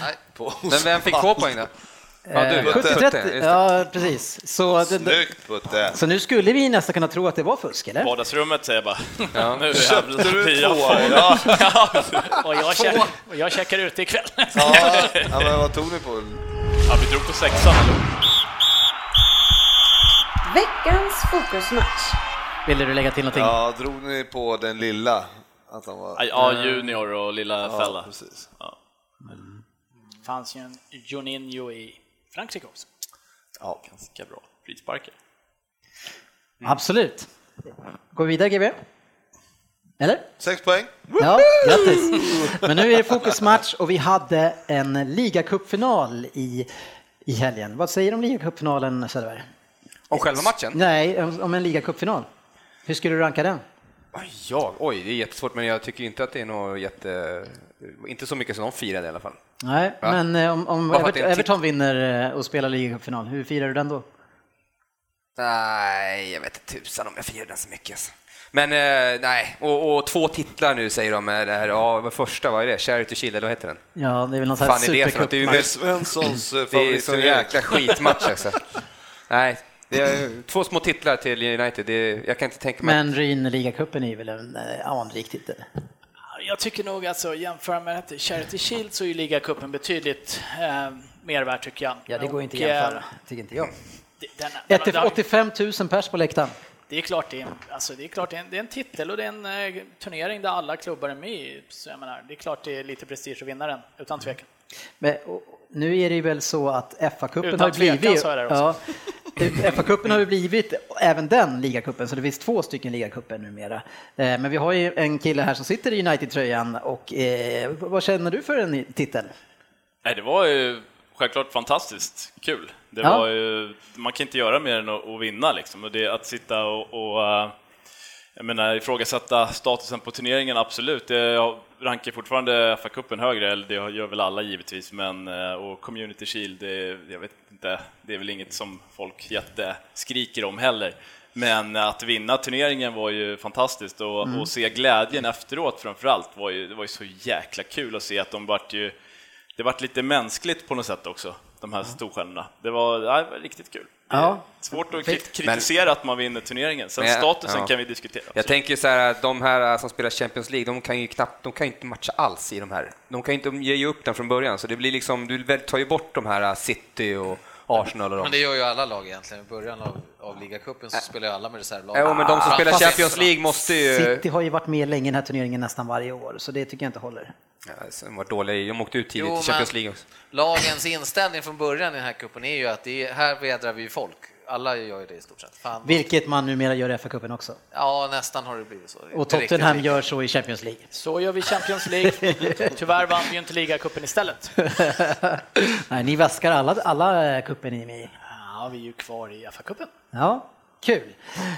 S3: Nej.
S6: På
S7: Men vem fick två poäng då? Ja,
S2: Eh,
S7: du,
S2: 70-30,
S7: just det.
S2: ja precis. Så, det,
S6: Snyggt Putte.
S2: så nu skulle vi nästan kunna tro att det var fusk, eller?
S5: Vardagsrummet säger jag bara. Nu är
S6: Köpte
S5: jävlar,
S6: du
S5: jag
S6: två?
S5: får-
S6: Ja.
S4: Och jag, check, och jag checkar ut ikväll.
S6: Ja, ja, men vad tog ni på?
S5: Ja, vi drog på sexan. eller?
S1: Veckans fokusmatch.
S2: Ville du lägga till någonting?
S6: Ja, drog ni på den lilla? Att han var...
S5: Ja, Junior och lilla Fälla.
S6: precis.
S5: Ja.
S4: fanns ju en Juninho i Frankrike också.
S6: Ja.
S5: Ganska bra. Frisparker.
S2: Absolut. Går vi vidare, GB? Eller?
S6: Sex poäng.
S2: Ja, grattis. Men nu är det fokusmatch och vi hade en ligacupfinal i, i helgen. Vad säger du om ligacupfinalen, Söderberg?
S7: Om själva matchen?
S2: Nej, om om en ligacupfinal. Hur skulle du ranka den?
S7: Oj, Ja, oj, det är jättesvårt, men jag tycker inte att det är något jätte... Inte så mycket som de firade i alla fall.
S2: Nej,
S7: Va?
S2: men eh, om, om
S7: Varför att
S2: Evert,
S7: det är en titt-
S2: Everton vinner eh, och spelar ligacupfinal, hur firar du den då?
S7: Nej, jag vet inte tusan om jag firar den så mycket. Alltså. Men eh, nej, och, och två titlar nu säger de. eh, Det här, ja, vad första, vad är det? Charity Chile, eller vad heter den?
S2: Ja, det är väl någon sån här
S7: Fan är det för något? Det är, ju
S2: supercupmatch.
S6: Det är
S7: mest,
S6: Svenssons eh,
S7: det är så
S6: favoritturnering.
S7: jäkla skitmatch alltså. Nej, det är två små titlar till United. Det är, jag kan inte tänka mig...
S2: Men Ryn ligacupen är väl en eh, anrik titel?
S4: Jag tycker nog alltså jämföra med att Charity Shield så är ju ligacupen betydligt eh, mer värd tycker jag.
S2: Ja, det går inte att
S4: Och, eh,
S2: jämföra, tycker inte jag.
S4: det- Den, den,
S2: 1
S4: den,
S2: till 85 000 pers på läktaren.
S4: det är klart, det är, en- alltså, det, är klart det, är en, det är en titel och det är en eh, turnering där alla klubbar är med i. Så jag menar, det är klart det är lite prestige att vinna den, utan tvekan.
S2: Men, och, nu är det ju väl så att FA-cupen
S4: Utan
S2: har ju
S4: tvekan
S2: blivit...
S4: så är det
S2: Ja, FA-cupen har ju blivit även den ligacupen, så det finns två stycken ligacuper numera. Eh, Men vi har ju en kille här som sitter i United-tröjan och eh, vad känner du för en titel?
S5: Nej, det var ju självklart fantastiskt kul. Det
S2: Ja.
S5: var ju, man kan inte göra mer än att, att vinna liksom. Och det, att sitta och, och eh, jag menar, ifrågasätta statusen på turneringen, absolut. Det, jag rankar fortfarande FA-cupen högre, eller det gör väl alla givetvis, men eh, och Community Shield, det, jag vet inte, det är väl inget som folk jätteskriker om heller. Men att vinna turneringen var ju fantastiskt och,
S7: Mm.
S5: och se glädjen efteråt framförallt var ju, det var ju så jäkla kul att se att de vart ju det vart lite mänskligt på något sätt också, de här storstjärnorna. Det var, ja, det var riktigt kul.
S2: Ja.
S5: Svårt att
S2: Perfekt.
S5: kri- kritisera att man vinner turneringen, sen
S7: Men jag-
S5: statusen
S7: ja.
S5: kan vi diskutera.
S7: Jag tänker så här, att de här eh, som spelar Champions League, de kan ju knappt, de kan ju inte matcha alls i de här. De kan ju inte, de ger ju upp den från början, så det blir liksom, du väl- tar ju bort de här eh, City och Arsenal och de.
S3: Men det gör ju alla lag egentligen. I början av, av ligacupen så spelar ju alla med reservlag.
S7: Jo, men de som
S3: Ah,
S7: spelar
S3: fast-
S7: Champions League måste ju...
S2: City har ju varit med länge i den här turneringen nästan varje år, så det tycker jag inte håller.
S7: Ja, De var dåliga, i- de åkte ut tidigt
S3: Jo,
S7: i Champions
S3: men
S7: League också.
S3: Lagens inställning från början i den här cupen är ju att det är, här vädrar vi folk. Alla gör ju det i stort sett. Fan.
S2: Vilket man numera gör i FA-cupen också.
S3: Ja, nästan har det blivit så.
S2: Och
S3: Inte riktigt
S2: Tottenham
S3: lika.
S2: gör så i Champions League.
S4: Så gör vi Champions League. Tyvärr vann vi ju inte ligacupen istället.
S2: Nej, ni väskar alla, alla eh, cupen ni är med i.
S4: Ja, vi är ju kvar i FA-cupen.
S2: Ja, kul.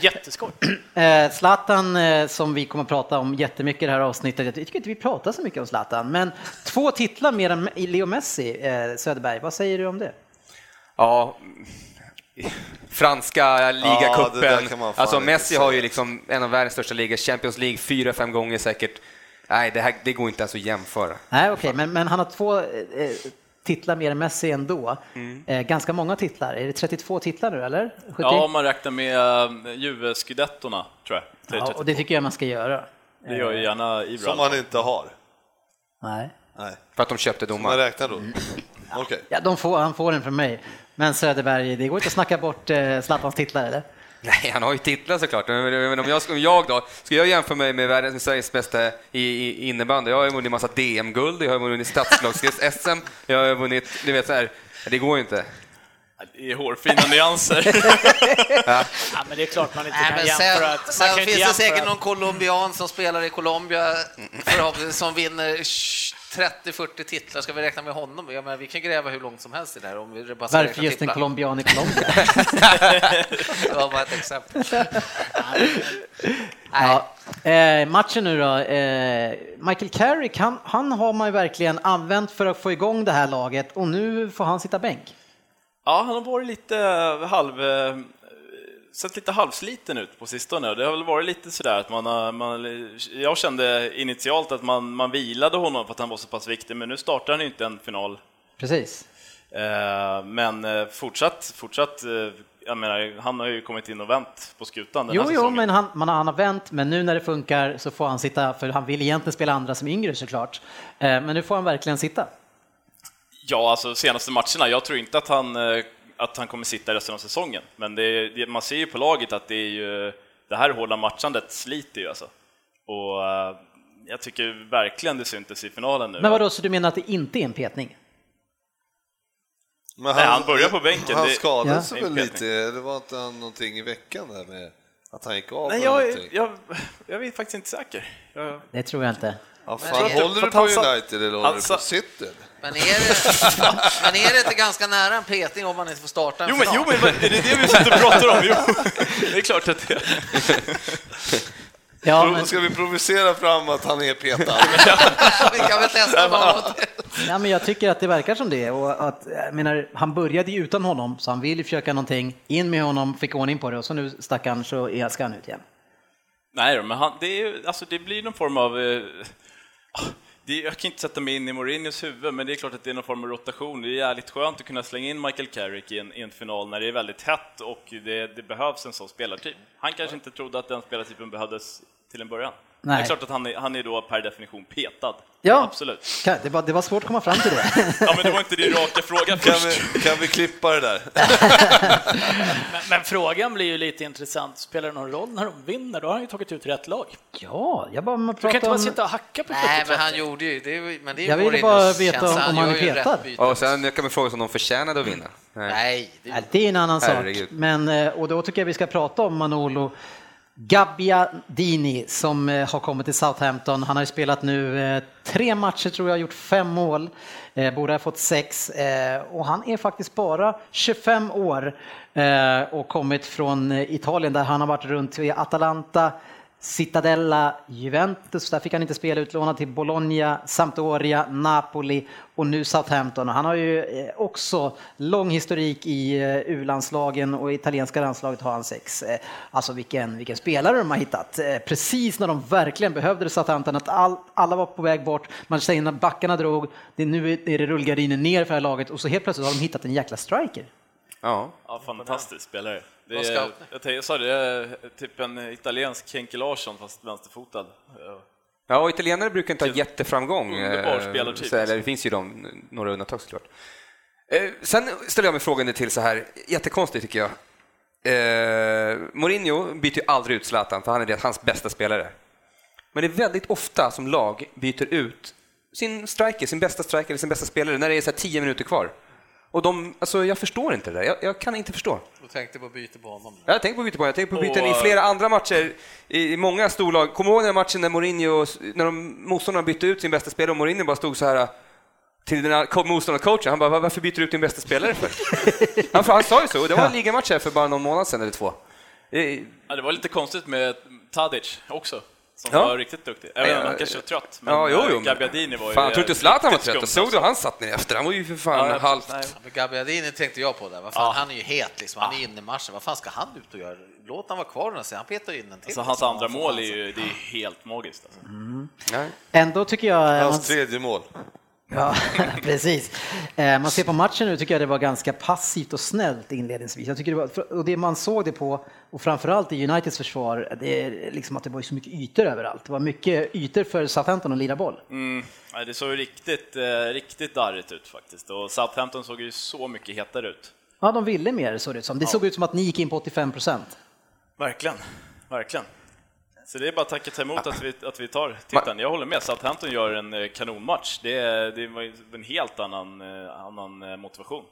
S4: Jätteskoj!
S2: Eh, Zlatan eh, som vi kommer att prata om jättemycket i det här avsnittet. Jag tycker inte vi pratar så mycket om Zlatan, men två titlar mer än i Leo Messi, eh, Söderberg. Vad säger du om det?
S7: Ja, franska
S6: det
S7: ligacupen.
S6: där kan man fan
S7: alltså
S6: inte
S7: Messi
S6: säga.
S7: har ju liksom en av världens största ligor, Champions League fyra, fem gånger säkert. Nej, det, här, det går inte ens att jämföra.
S2: Nej, okej, men, men han har två eh, eh, titlar mer än Messi ändå. Eh, ganska många titlar. Är det 32 titlar nu eller? 70?
S5: Ja, om man räknar med eh, Juve-scudettorna, tror jag.
S2: Ja, och det tycker jag man ska göra.
S5: det gör ju gärna Ibra.
S6: Som man inte har.
S2: Nej.
S6: Nej.
S7: För att de köpte
S6: Man
S7: domaren.
S6: räknar då. Okej.
S2: Ja, de får, han får den från mig. Men Söderberg, det går inte att snacka bort eh, Zlatans titlar eller?
S7: Nej, han har ju titlar såklart. Men- Men men om jag, om jag då, ska jag jämföra mig med världens med Sveriges bästa i, i innebandy? Jag har ju vunnit massa DM-guld, jag har vunnit statslags-SM, jag har vunnit, du vet så här, det går ju inte.
S5: Det är hårfina nyanser.
S4: Ja, men det är klart man inte
S3: Nej,
S4: kan
S3: men
S4: jämföra.
S3: sen,
S4: att- man
S3: sen
S4: kan inte
S3: finns det
S4: jämföra
S3: säkert
S4: att-
S3: någon colombian som spelar i Colombia förhoppningsvis som vinner 30-40 titlar. Ska vi räkna med honom? Jag menar, vi kan gräva hur långt som helst i det här om vi bara ska
S2: Varför
S3: räkna
S2: just en
S3: titlar.
S2: colombian i Colombia?
S3: Det var bara ett exempel.
S2: Ja. Eh, matchen nu då. Eh, Michael Carrick, han, han har man ju verkligen använt för att få igång det här laget och nu får han sitta bänk.
S5: Ja, han har varit lite halv... eh, sett lite halvsliten ut på sistone. Det har väl varit lite sådär att man, har- man Jag kände initialt att man, man vilade honom för att han var så pass viktig, men nu startar han ju inte en final.
S2: Precis.
S5: Eh, Men eh, fortsatt, fortsatt... eh, Jag menar, han har ju kommit in och vänt på skutan den
S2: Jo,
S5: här
S2: jo,
S5: säsongen.
S2: men han, man, han har vänt, men nu när det funkar så får han sitta, för han vill egentligen spela andra som yngre såklart. Eh, men nu får han verkligen sitta.
S5: Ja, alltså senaste matcherna. Jag tror inte att han, eh, att han kommer sitta resten av säsongen. Men det, är- det, man ser ju på laget att det är ju, det här hårda matchandet sliter ju alltså. Och eh, jag tycker verkligen det syntes i finalen nu.
S2: Men vadå, så du menar att det inte är en petning?
S6: Men
S5: Nej, han börjar på bänken.
S6: Han
S5: Det-
S6: skadades
S5: Ja.
S6: väl
S5: Det är en
S6: lite? Det var inte han någonting i veckan där med att han gick av?
S5: Nej,
S6: eller
S5: jag,
S6: någonting?
S5: jag, jag är faktiskt inte säker. Jag,
S2: Det tror jag inte.
S6: Ja,
S5: tror
S6: fan,
S5: att-
S6: håller
S5: för
S6: du
S5: att
S6: på
S5: han sa-
S6: United eller håller
S5: han
S6: du
S7: Alltså-
S6: på
S5: sa-
S6: City?
S3: Men är, det, men är det inte ganska nära en petning om man inte får starta en
S5: jo, men,
S3: final?
S5: jo, men vad- är det det vi sitter och pratar om? Jo, det är klart att det...
S2: Ja,
S6: Ja,
S2: men,
S6: Ska vi provocera fram att han är petad?
S7: Mm.
S3: Vi kan väl testa något.
S2: ja, men jag tycker att det verkar som det. Och att, jag menar, han började ju utan honom, så han vill ju försöka någonting. In med honom, fick ordning på det och så nu stackaren så är- ska han ut igen.
S5: Nej då, men han, det, är, ju- alltså, det blir någon form av... Eh, ah, det, jag kan inte sätta mig in i Mourinhos huvud, men det är klart att det är någon form av rotation. Det är jävligt skönt att kunna slänga in Michael Carrick i en, i en final när det är väldigt hett och det, det behövs en sån spelartyp. Han kanske inte trodde att den spelartypen behövdes till en början.
S2: Nej.
S5: Det är klart att han är, han är då per definition petad.
S2: Ja.
S5: Absolut.
S2: Kan- Det var, det var svårt att komma fram till det.
S5: Ja, men det var inte din raka fråga
S6: Kan
S5: först.
S6: vi, kan vi klippa det där?
S4: Men, men frågan blir ju lite intressant. Spelar det någon roll när de vinner? Då har han ju tagit ut rätt lag.
S2: Ja, jag bara man
S4: Du kan inte
S2: pratar
S4: bara
S2: om...
S4: sitta och hacka på
S3: Nej,
S4: 70-30.
S3: men han gjorde ju det. är ju- Men det är ju
S2: Jag ville
S3: Mourinhos
S2: bara veta
S3: känsla.
S2: om han
S3: gör
S2: är
S3: ju rätt
S2: petad.
S3: byte.
S7: Och sen kan man fråga sig om de förtjänade att vinna. Nej.
S3: Nej, det
S2: Ja, Det är en annan sak.
S7: Herregud.
S2: Men, eh, och då tycker jag vi ska prata om Manolo Gabbiadini som eh, har kommit till Southampton. Han har ju spelat nu eh, tre matcher tror jag, gjort fem mål, eh, borde ha fått sex eh, och han är faktiskt bara 25 år eh, och kommit från eh, Italien där han har varit runt i Atalanta, Citadella, Juventus, där fick han inte spela, utlånad till Bologna, Sampdoria, Napoli och nu Southampton. Och Han har ju eh, också lång historik i eh, U-landslagen och i italienska landslaget har han sex. Eh, Alltså vilken, vilken spelare de har hittat. Eh, Precis när de verkligen behövde det Southampton, att all, alla var på väg bort, man säger när backarna drog, det, är nu är det rullgardinen ner för det här laget och så helt plötsligt har de hittat en jäkla striker.
S7: Ja.
S5: Ja, fantastisk spelare. Det
S3: Vad
S5: är,
S3: ska-
S5: jag, tänkte- jag sa det, eh, typ en italiensk Henke Larsson fast vänsterfotad. Eh,
S7: Ja, och italienare brukar inte ha jätteframgång.
S5: Typ Underbar
S7: eh,
S5: spelartyp. alltså.
S7: Så, eller, det finns ju de, några undantag såklart. Eh, Sen ställer jag mig frågan till så här, jättekonstigt tycker jag. Eh, Mourinho byter ju aldrig ut Zlatan, för han är det, hans bästa spelare. Men det är väldigt ofta som lag byter ut sin striker, sin bästa striker eller sin bästa spelare när det är så här tio minuter kvar. Och de, alltså jag förstår inte det där, jag, jag kan inte förstå.
S3: Du tänkte på byte på honom.
S7: Jag tänker på byten, jag tänker på byten i
S5: Och-
S7: flera andra matcher, i i många storlag. Kommer du ihåg den här matchen när Mourinho, när de, motståndarna bytte ut sin bästa spelare och Mourinho bara stod så här eh, till den här co- motståndarcoachen, han bara "Va- “Varför byter du ut din bästa spelare för?” han, han sa ju så, och det var en ligamatch här för bara någon månad sedan eller två. Eh,
S5: Ja, det var lite konstigt med Tadic också. som
S7: Ja.
S5: var riktigt duktig. Jag vet inte, han kanske var trött, men
S7: ja, jo, jo, men-
S5: Gabiadini var ju...
S7: Fan, jag tror inte Zlatan var
S5: riktigt
S7: trött.
S5: skum,
S7: Såg du
S5: alltså.
S7: han satt ner efter? Han var ju för fan
S5: Ja,
S7: halvt...
S5: nej.
S3: Ja, men Gabbiadini tänkte jag på där. Vad fan, Han är ju het, liksom. han är inne i matchen. Vad fan ska han ut och göra? Låt han vara kvar den här Han petar ju in den till. liksom.
S5: Alltså, hans andra mål är ju det är helt magiskt. Alltså.
S7: Nej.
S2: Ändå tycker jag... eh,
S6: Hans tredje mål.
S2: Ja, precis. Eh, Man ser på matchen nu tycker jag det var ganska passivt och snällt inledningsvis. Jag tycker det var, och det man såg det på, och framförallt i Uniteds försvar, det är liksom att det var ju så mycket ytor överallt. Det var mycket ytor för Southampton att lira boll.
S5: Mm. nej, Det såg ju riktigt, eh, riktigt darrigt ut faktiskt, och Southampton såg ju så mycket hetare ut.
S2: Ja, de ville mer såg det ut som. Det såg ut som att ni gick in på 85 procent.
S5: Verkligen, verkligen. Så det är bara att tacka ta emot att vi, att vi tar titeln. Jag håller med, Southampton gör en eh, kanonmatch. Det, är- det var ju en helt annan, eh, annan eh, motivation.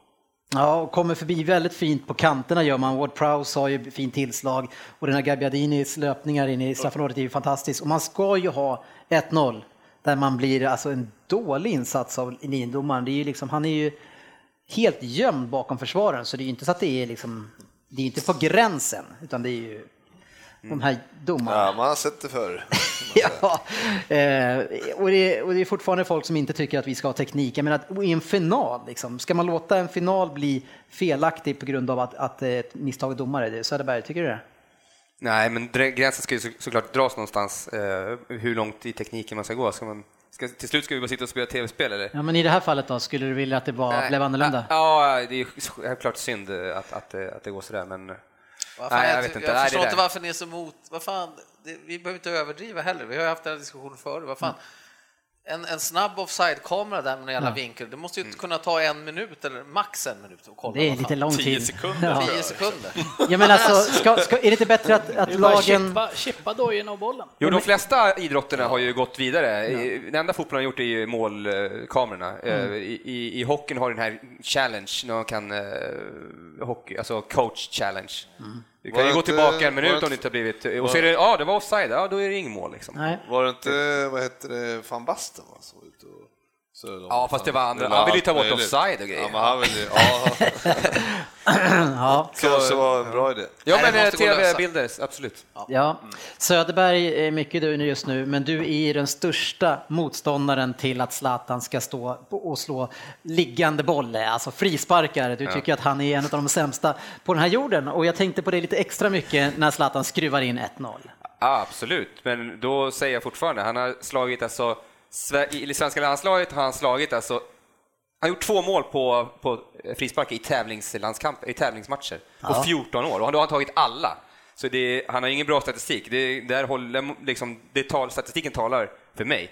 S2: Ja, och kommer förbi väldigt fint på kanterna gör man. Ward Prowse har ju fint tillslag och den här Gabbiadinis löpningar in i straffområdet är ju fantastiskt. Och man ska ju ha 1-0 där man blir alltså en dålig insats av linjedomaren. Det är ju liksom, han är ju helt gömd bakom försvararen så det är ju inte så att det är liksom, det är ju inte på gränsen utan det är ju de här domarna.
S6: Ja, man har sett det förr.
S2: Ja, eh, och, det, och det är fortfarande folk som inte tycker att vi ska ha teknik. Jag menar, att- i en final, liksom, ska man låta en final bli felaktig på grund av att, att eh, ett misstag domare? Det- Söderberg, tycker du det?
S7: Nej, men drä- gränsen ska ju så, såklart dras någonstans, eh, hur långt i tekniken man ska gå. Ska man, ska, till slut ska vi bara sitta och spela tv-spel, eller?
S2: Ja, men i det här fallet då, skulle du vilja att det var,
S7: Nej.
S2: blev annorlunda?
S7: Ja, det är ju självklart synd eh, att, att, det- att det går sådär, men...
S3: Vad fan,
S7: Nej, jag
S3: jag,
S7: vet
S3: jag,
S7: inte. Nej,
S3: förstår
S7: det
S3: inte
S7: där.
S3: varför ni är så emot. Vad fan, det, vi behöver inte överdriva heller. Vi har ju haft den här diskussionen förut. Vad fan. En, en snabb offside-kamera där med en jävla vinkel, det måste ju kunna ta en minut eller max en minut och kolla.
S2: Det är
S3: vad fan.
S2: lite lång tid.
S5: Tio sekunder,
S2: Ja.
S5: tror
S3: Tio sekunder.
S2: Jag menar, alltså, ska, ska, är det inte bättre att,
S4: Det
S2: att
S4: är bara
S2: lagen...
S4: chippa, chippa dojorna och bollen.
S7: Jo, de flesta idrotterna har ju gått vidare. I- Det enda fotbollen har gjort är ju målkamerorna. Eh,
S2: Mm.
S7: I, i, I hockeyn har den här challenge, när man kan, eh, hockey, alltså coach challenge.
S2: Mm.
S7: Du kan
S6: Var
S7: ju gå
S6: inte-
S7: tillbaka en
S6: var
S7: minut
S6: inte-
S7: om det inte har blivit... Och så är det, ja, det var offside, ja, då är det ingen mål liksom.
S2: Nej.
S6: Var det inte, vad hette det, van Basten va, som var ute och sög dem?
S7: Ja, fast det var andra.
S6: Det var
S7: Han ville ju
S6: allt
S7: ta bort
S6: möjligt.
S7: offside och grejer.
S6: Ja, men han ville, ja,
S2: Ja,
S6: kanske var en bra idé.
S7: Ja,
S3: Nej, det
S7: men eh,
S3: måste gå att lösa.
S7: tv-bilder, absolut.
S2: ja. Söderberg är mycket du just nu, men du är ju den största motståndaren till att Zlatan ska stå och slå liggande boll, alltså frisparkar. Du tycker att han är en av de sämsta på den här jorden och jag tänkte på det lite extra mycket när Zlatan skruvar in 1-0.
S7: Ja, absolut, men då säger jag fortfarande, han har slagit alltså, Sve- i i svenska landslaget har han slagit alltså, han har gjort två mål på, på frispark i, tävlingslandskamp, i tävlingsmatcher på 14 år och han då har han tagit alla. Så det, han har ingen bra statistik, det, där håller, liksom, det tal, statistiken talar för mig.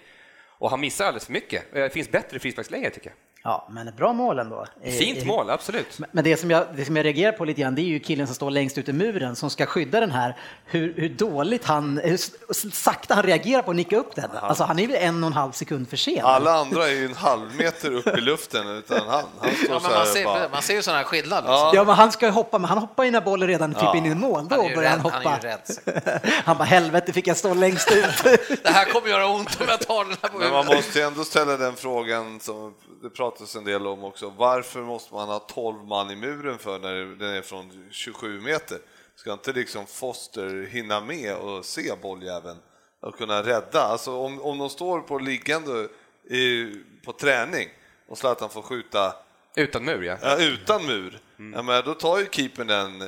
S7: Och han missar alldeles för mycket. Eh, Det finns bättre frisparkslägen tycker jag.
S2: Ja, men ett bra mål ändå. Eh,
S7: Fint
S2: eh,
S7: mål, absolut.
S2: Men det som, jag, det som jag reagerar på lite grann, det är ju killen som står längst ut i muren som ska skydda den här. Hur, hur dåligt han, hur s- sakta han reagerar på att nicka upp den. Alltså han är ju en och en halv sekund för sen.
S6: Alla andra är ju en halv meter upp i luften, utan han, han står
S3: Ja, men
S6: så
S3: man,
S6: här och
S3: ser,
S6: bara...
S3: man ser ju sådana här skillnader.
S6: Ja.
S2: Ja, men han ska ju hoppa, men han hoppar ju när bollen redan är typ in i mål. Då
S3: Han är ju
S2: börjar han
S3: rädd, han
S2: hoppa.
S3: är ju rädd
S2: Han bara, helvete fick jag stå längst ut.
S3: Det här kommer göra ont om jag tar den här på
S6: Men
S3: huvudet.
S6: man måste ju ändå ställa den frågan som det pratas en del om också. Varför måste man ha 12 man i muren för när den är från 27 meter? Ska inte liksom Foster hinna med och se bolljäveln och kunna rädda? Alltså om, om de står på liggande i, på träning och Zlatan får skjuta
S7: Utan mur ja.
S6: ja, utan mur, ja, men då tar ju keepern den eh,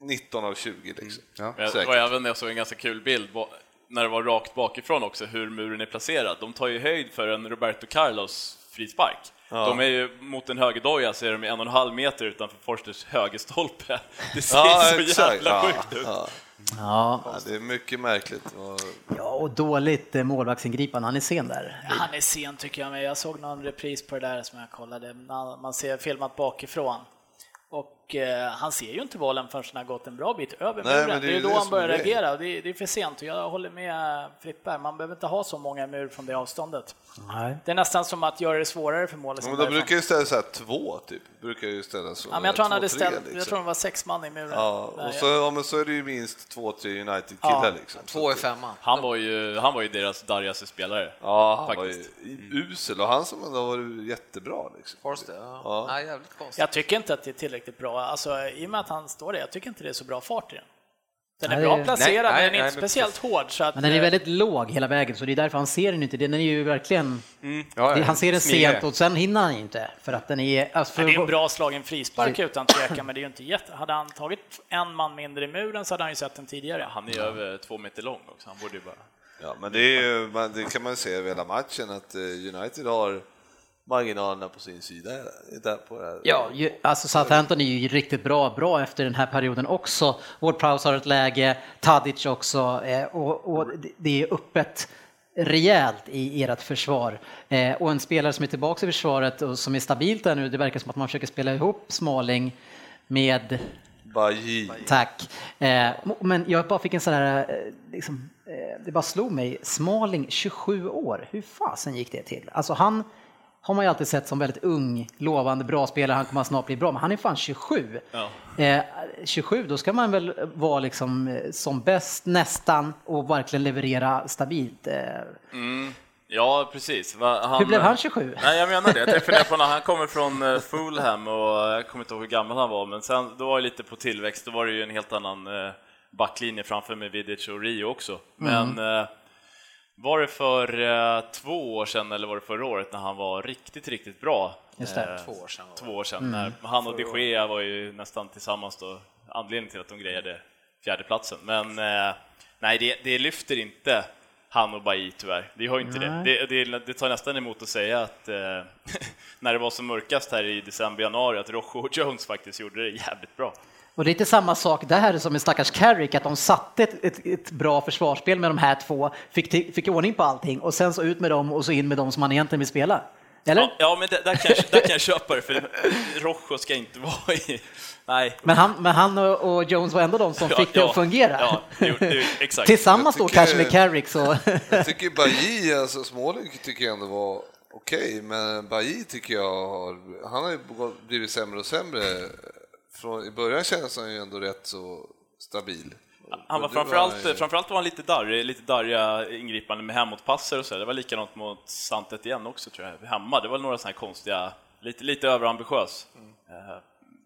S6: 19 av 20 liksom.
S7: Ja.
S5: Men Jag,
S6: Säkert.
S5: och även jag såg en ganska kul bild ba- när det var rakt bakifrån också, hur muren är placerad. De tar ju höjd för en Roberto Carlos frispark. De är ju mot en högerdoja så är de en och en halv meter utanför Forsters högerstolpe. Det ser
S6: Ja,
S5: så
S6: exakt.
S5: jävla
S6: Ja,
S5: sjukt ut.
S6: ja.
S2: Ja,
S6: Ja, det är mycket märkligt. Och
S2: ja och dåligt eh, målvaktsingripande. Han är sen där.
S4: Han är sen tycker jag, men jag såg någon repris på det där som jag kollade, när man ser filmat bakifrån. Och eh, han ser ju inte bollen förrän den har gått en bra bit över
S6: Nej,
S4: muren.
S6: men
S4: det, är
S6: ju
S4: då
S6: det
S4: han
S6: som
S4: börjar
S6: är grejen.
S4: reagera. och Det är, det är för sent och jag håller med Frippe här, man behöver inte ha så många mur från det avståndet.
S2: Nej.
S4: Det är nästan som att göra det svårare för målet.
S6: Ja,
S4: som
S6: men de
S4: därifrån.
S6: brukar ju ställa så här två, typ. Brukar ju ställa så.
S4: ja, men jag tror han
S6: två,
S4: hade
S6: tre,
S4: ställt, jag
S6: liksom.
S4: tror det var sex man i muren.
S6: Ja,
S4: Där,
S6: och så, ja, men så är det ju minst två, tre United-killar
S4: Ja,
S6: liksom.
S3: Två i femman.
S5: Han var ju, han var ju deras darrigaste spelare.
S6: Ja, han
S5: faktiskt. Mm.
S6: var ju usel och han som ändå har varit jättebra liksom.
S3: Forster, ja.
S6: Ja.
S3: Nej, jävligt konstigt.
S4: Jag tycker inte att det är tillräckligt bra, alltså i och med att han står där, jag tycker inte det är så bra fart i den. Den
S2: Nej,
S4: är
S2: det-
S4: bra placerad, men
S7: nej,
S4: den är
S7: nej,
S4: inte
S7: men
S4: speciellt hård. Så att, eh,
S2: Men den
S3: Eh.
S2: är väldigt låg hela vägen, så det är därför han ser den inte. Den är ju verkligen...
S7: Ja, ja.
S2: Han ser den
S7: Smygare.
S2: sent och sen hinner han ju inte. För att den är... Alltså för,
S4: Nej, det är en bra slagen frispark utan tvekan, men det är ju inte jätte... Hade han tagit en man mindre i muren så hade han ju sett den tidigare.
S5: Han är ju över två meter lång också, han borde ju bara...
S6: Ja, men det, är ju, man- det kan man ju se över hela matchen att eh, United har marginalerna på sin sida. Där på det här.
S2: Ja, ju, alltså Southampton är ju riktigt bra, bra efter den här perioden också. Ward Prowse har ett läge, Tadic också, eh, och, och det- det är öppet rejält i ert försvar. Eh, och en spelare som är tillbaka i försvaret och som är stabilt där nu, det verkar som att man försöker spela ihop Smalling med
S6: Baji.
S2: Tack. Eh, men jag bara fick en sån här, eh, liksom, eh, det bara slog mig, Smalling 27 år, hur fasen gick det till? Alltså han har man ju alltid sett som väldigt ung, lovande, bra spelare, han kommer snart bli bra, men han är fan 27. Eh, 27, då ska man väl vara liksom eh, som bäst nästan och verkligen leverera stabilt. Eh,
S5: Ja, precis. Va, han, eh,
S2: Hur blev han 27?
S5: Nej, jag menar det. Jag tänkte fundera på när han kommer från eh, Fulham och eh, jag kommer inte ihåg hur gammal han var, men sen, då var jag lite på tillväxt, då var det ju en helt annan eh, backlinje framför med Vidic och Rio också. Men
S2: Mm.
S5: eh, var det för eh, två år sedan eller var det förra året när han var riktigt, riktigt bra?
S2: Just det.
S5: Eh,
S3: Två år sedan.
S5: Två år sedan. När han och de Gea var ju nästan tillsammans då, anledningen till att de grejade fjärdeplatsen. Men eh, nej, det, det lyfter inte han och Bailly tyvärr. Det har ju inte det. Det, det. det tar nästan emot att säga att eh, när det var som mörkast här i december, januari, att Rojo och Jones faktiskt gjorde det jävligt bra.
S2: Och det är inte samma sak där som med stackars Carrick, att de satte ett, ett, ett bra försvarsspel med de här två, fick, till- fick ordning på allting och sen så ut med dem och så in med dem som man egentligen vill spela. Eller?
S5: Ja, ja men där, där, kan jag, där kan jag köpa det, för Rojo ska inte vara i... Nej.
S2: Men han, men han och och Jones var ändå de som
S5: Ja,
S2: fick det
S5: ja,
S2: att fungera.
S5: ja, jo, jo, exakt.
S2: Tillsammans då
S6: Jag
S2: kanske med
S6: tycker-
S2: Carrick så...
S6: Jag tycker Baji, alltså Småling tycker jag ändå var okej, men Baji tycker jag har, han har ju gått- blivit sämre och sämre. Från, I början kändes han ju ändå rätt så stabil.
S5: Han var
S6: Men nu
S5: framförallt,
S6: han ju-
S5: framförallt var han lite darrig, lite darriga ingripande med hemåtpasser och så. Det var likadant mot Santet igen också tror jag, hemma. Det var några sådana här konstiga, lite, lite överambitiös.
S6: Mm.
S5: Eh,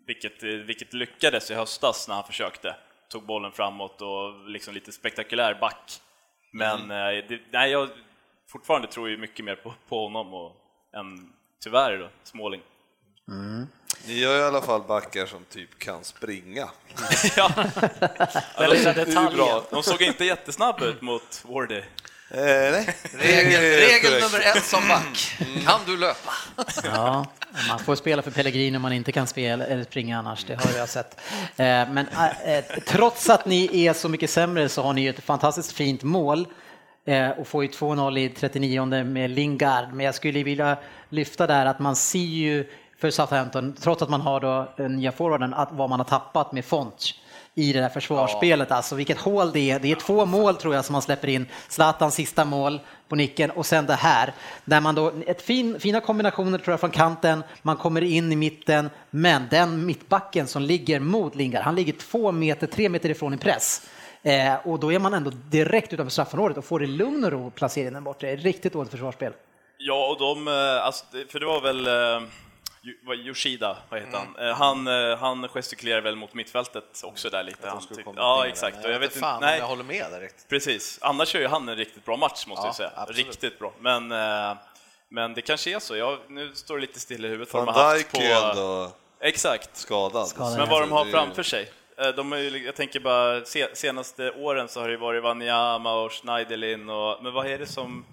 S5: vilket, eh, vilket lyckades i höstas när han försökte. Tog bollen framåt och liksom lite spektakulär back. Men
S6: Mm.
S5: eh, det, nej, jag fortfarande tror ju mycket mer på, på honom och, än tyvärr då, Småling.
S6: Ni har i alla fall backar som typ kan springa.
S5: ja,
S4: Den lilla
S5: det
S6: är ju
S4: detaljen.
S6: Alltså, bra.
S5: de såg inte jättesnabba ut mot Wardy.
S6: Eh, nej.
S7: Regel,
S6: Det är
S7: regel
S6: korrekt.
S7: nummer ett som back. Kan du löpa?
S2: Ja, man får spela för Pellegrini om man inte kan spela eller springa annars, det har jag sett. Eh, Men eh, eh, trots att ni är så mycket sämre så har ni ju ett fantastiskt fint mål eh, och får ju 2-0 i 39 med Lingard. Men jag skulle vilja lyfta där att man ser ju för Southampton, trots att man har då den nya forwarden, att vad man har tappat med Fonch i det där försvarsspelet. Alltså vilket hål det är. Det är två mål tror jag som man släpper in. Zlatans sista mål på nicken och sen det här. Där man då, ett fin, fina kombinationer tror jag från kanten, man kommer in i mitten, men den mittbacken som ligger mot Lingard, han ligger två meter, tre meter ifrån i press. Eh, och då är man ändå direkt utanför straffområdet och får det lugn och ro att placera in den bort. Det är riktigt dåligt försvarsspel.
S5: Ja, och de, eh, alltså, det- för det var väl eh, Yo- vad- Yoshida, vad heter han? Eh, Han, eh, han gestikulerar väl mot mittfältet också där lite. Han
S3: skulle
S5: tyck-
S3: komma till
S5: ja,
S3: det.
S5: exakt.
S3: Men
S5: Och jag vet
S3: inte fan
S5: inte,
S3: om
S5: nej,
S3: jag håller med där riktigt.
S5: precis. Annars gör ju han en riktigt bra match måste
S3: Ja,
S5: jag säga.
S3: absolut.
S5: Riktigt bra. Men, eh, men det kanske är så. Jag, nu står det lite still i huvudet. vad
S6: Van
S5: de har haft
S6: Dijk är ju ändå
S5: Exakt.
S6: skadad.
S2: Skadad,
S5: Men vad de har
S6: Det är-
S5: framför sig. Eh, De har ju, jag tänker bara, se- senaste åren så har det ju varit Wanyama och Schneiderlin och, men vad är det som,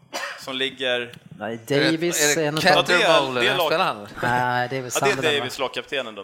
S5: som ligger...
S2: Nej, Davis
S7: Är det-
S2: är
S7: är
S2: en av...
S7: det
S5: Ja, det är-
S7: Cattermole,
S5: det är lag-
S7: spelar han?
S2: Nej, det är väl
S5: Ja, det är
S2: Sunderland, va?
S5: Davis, lagkaptenen då,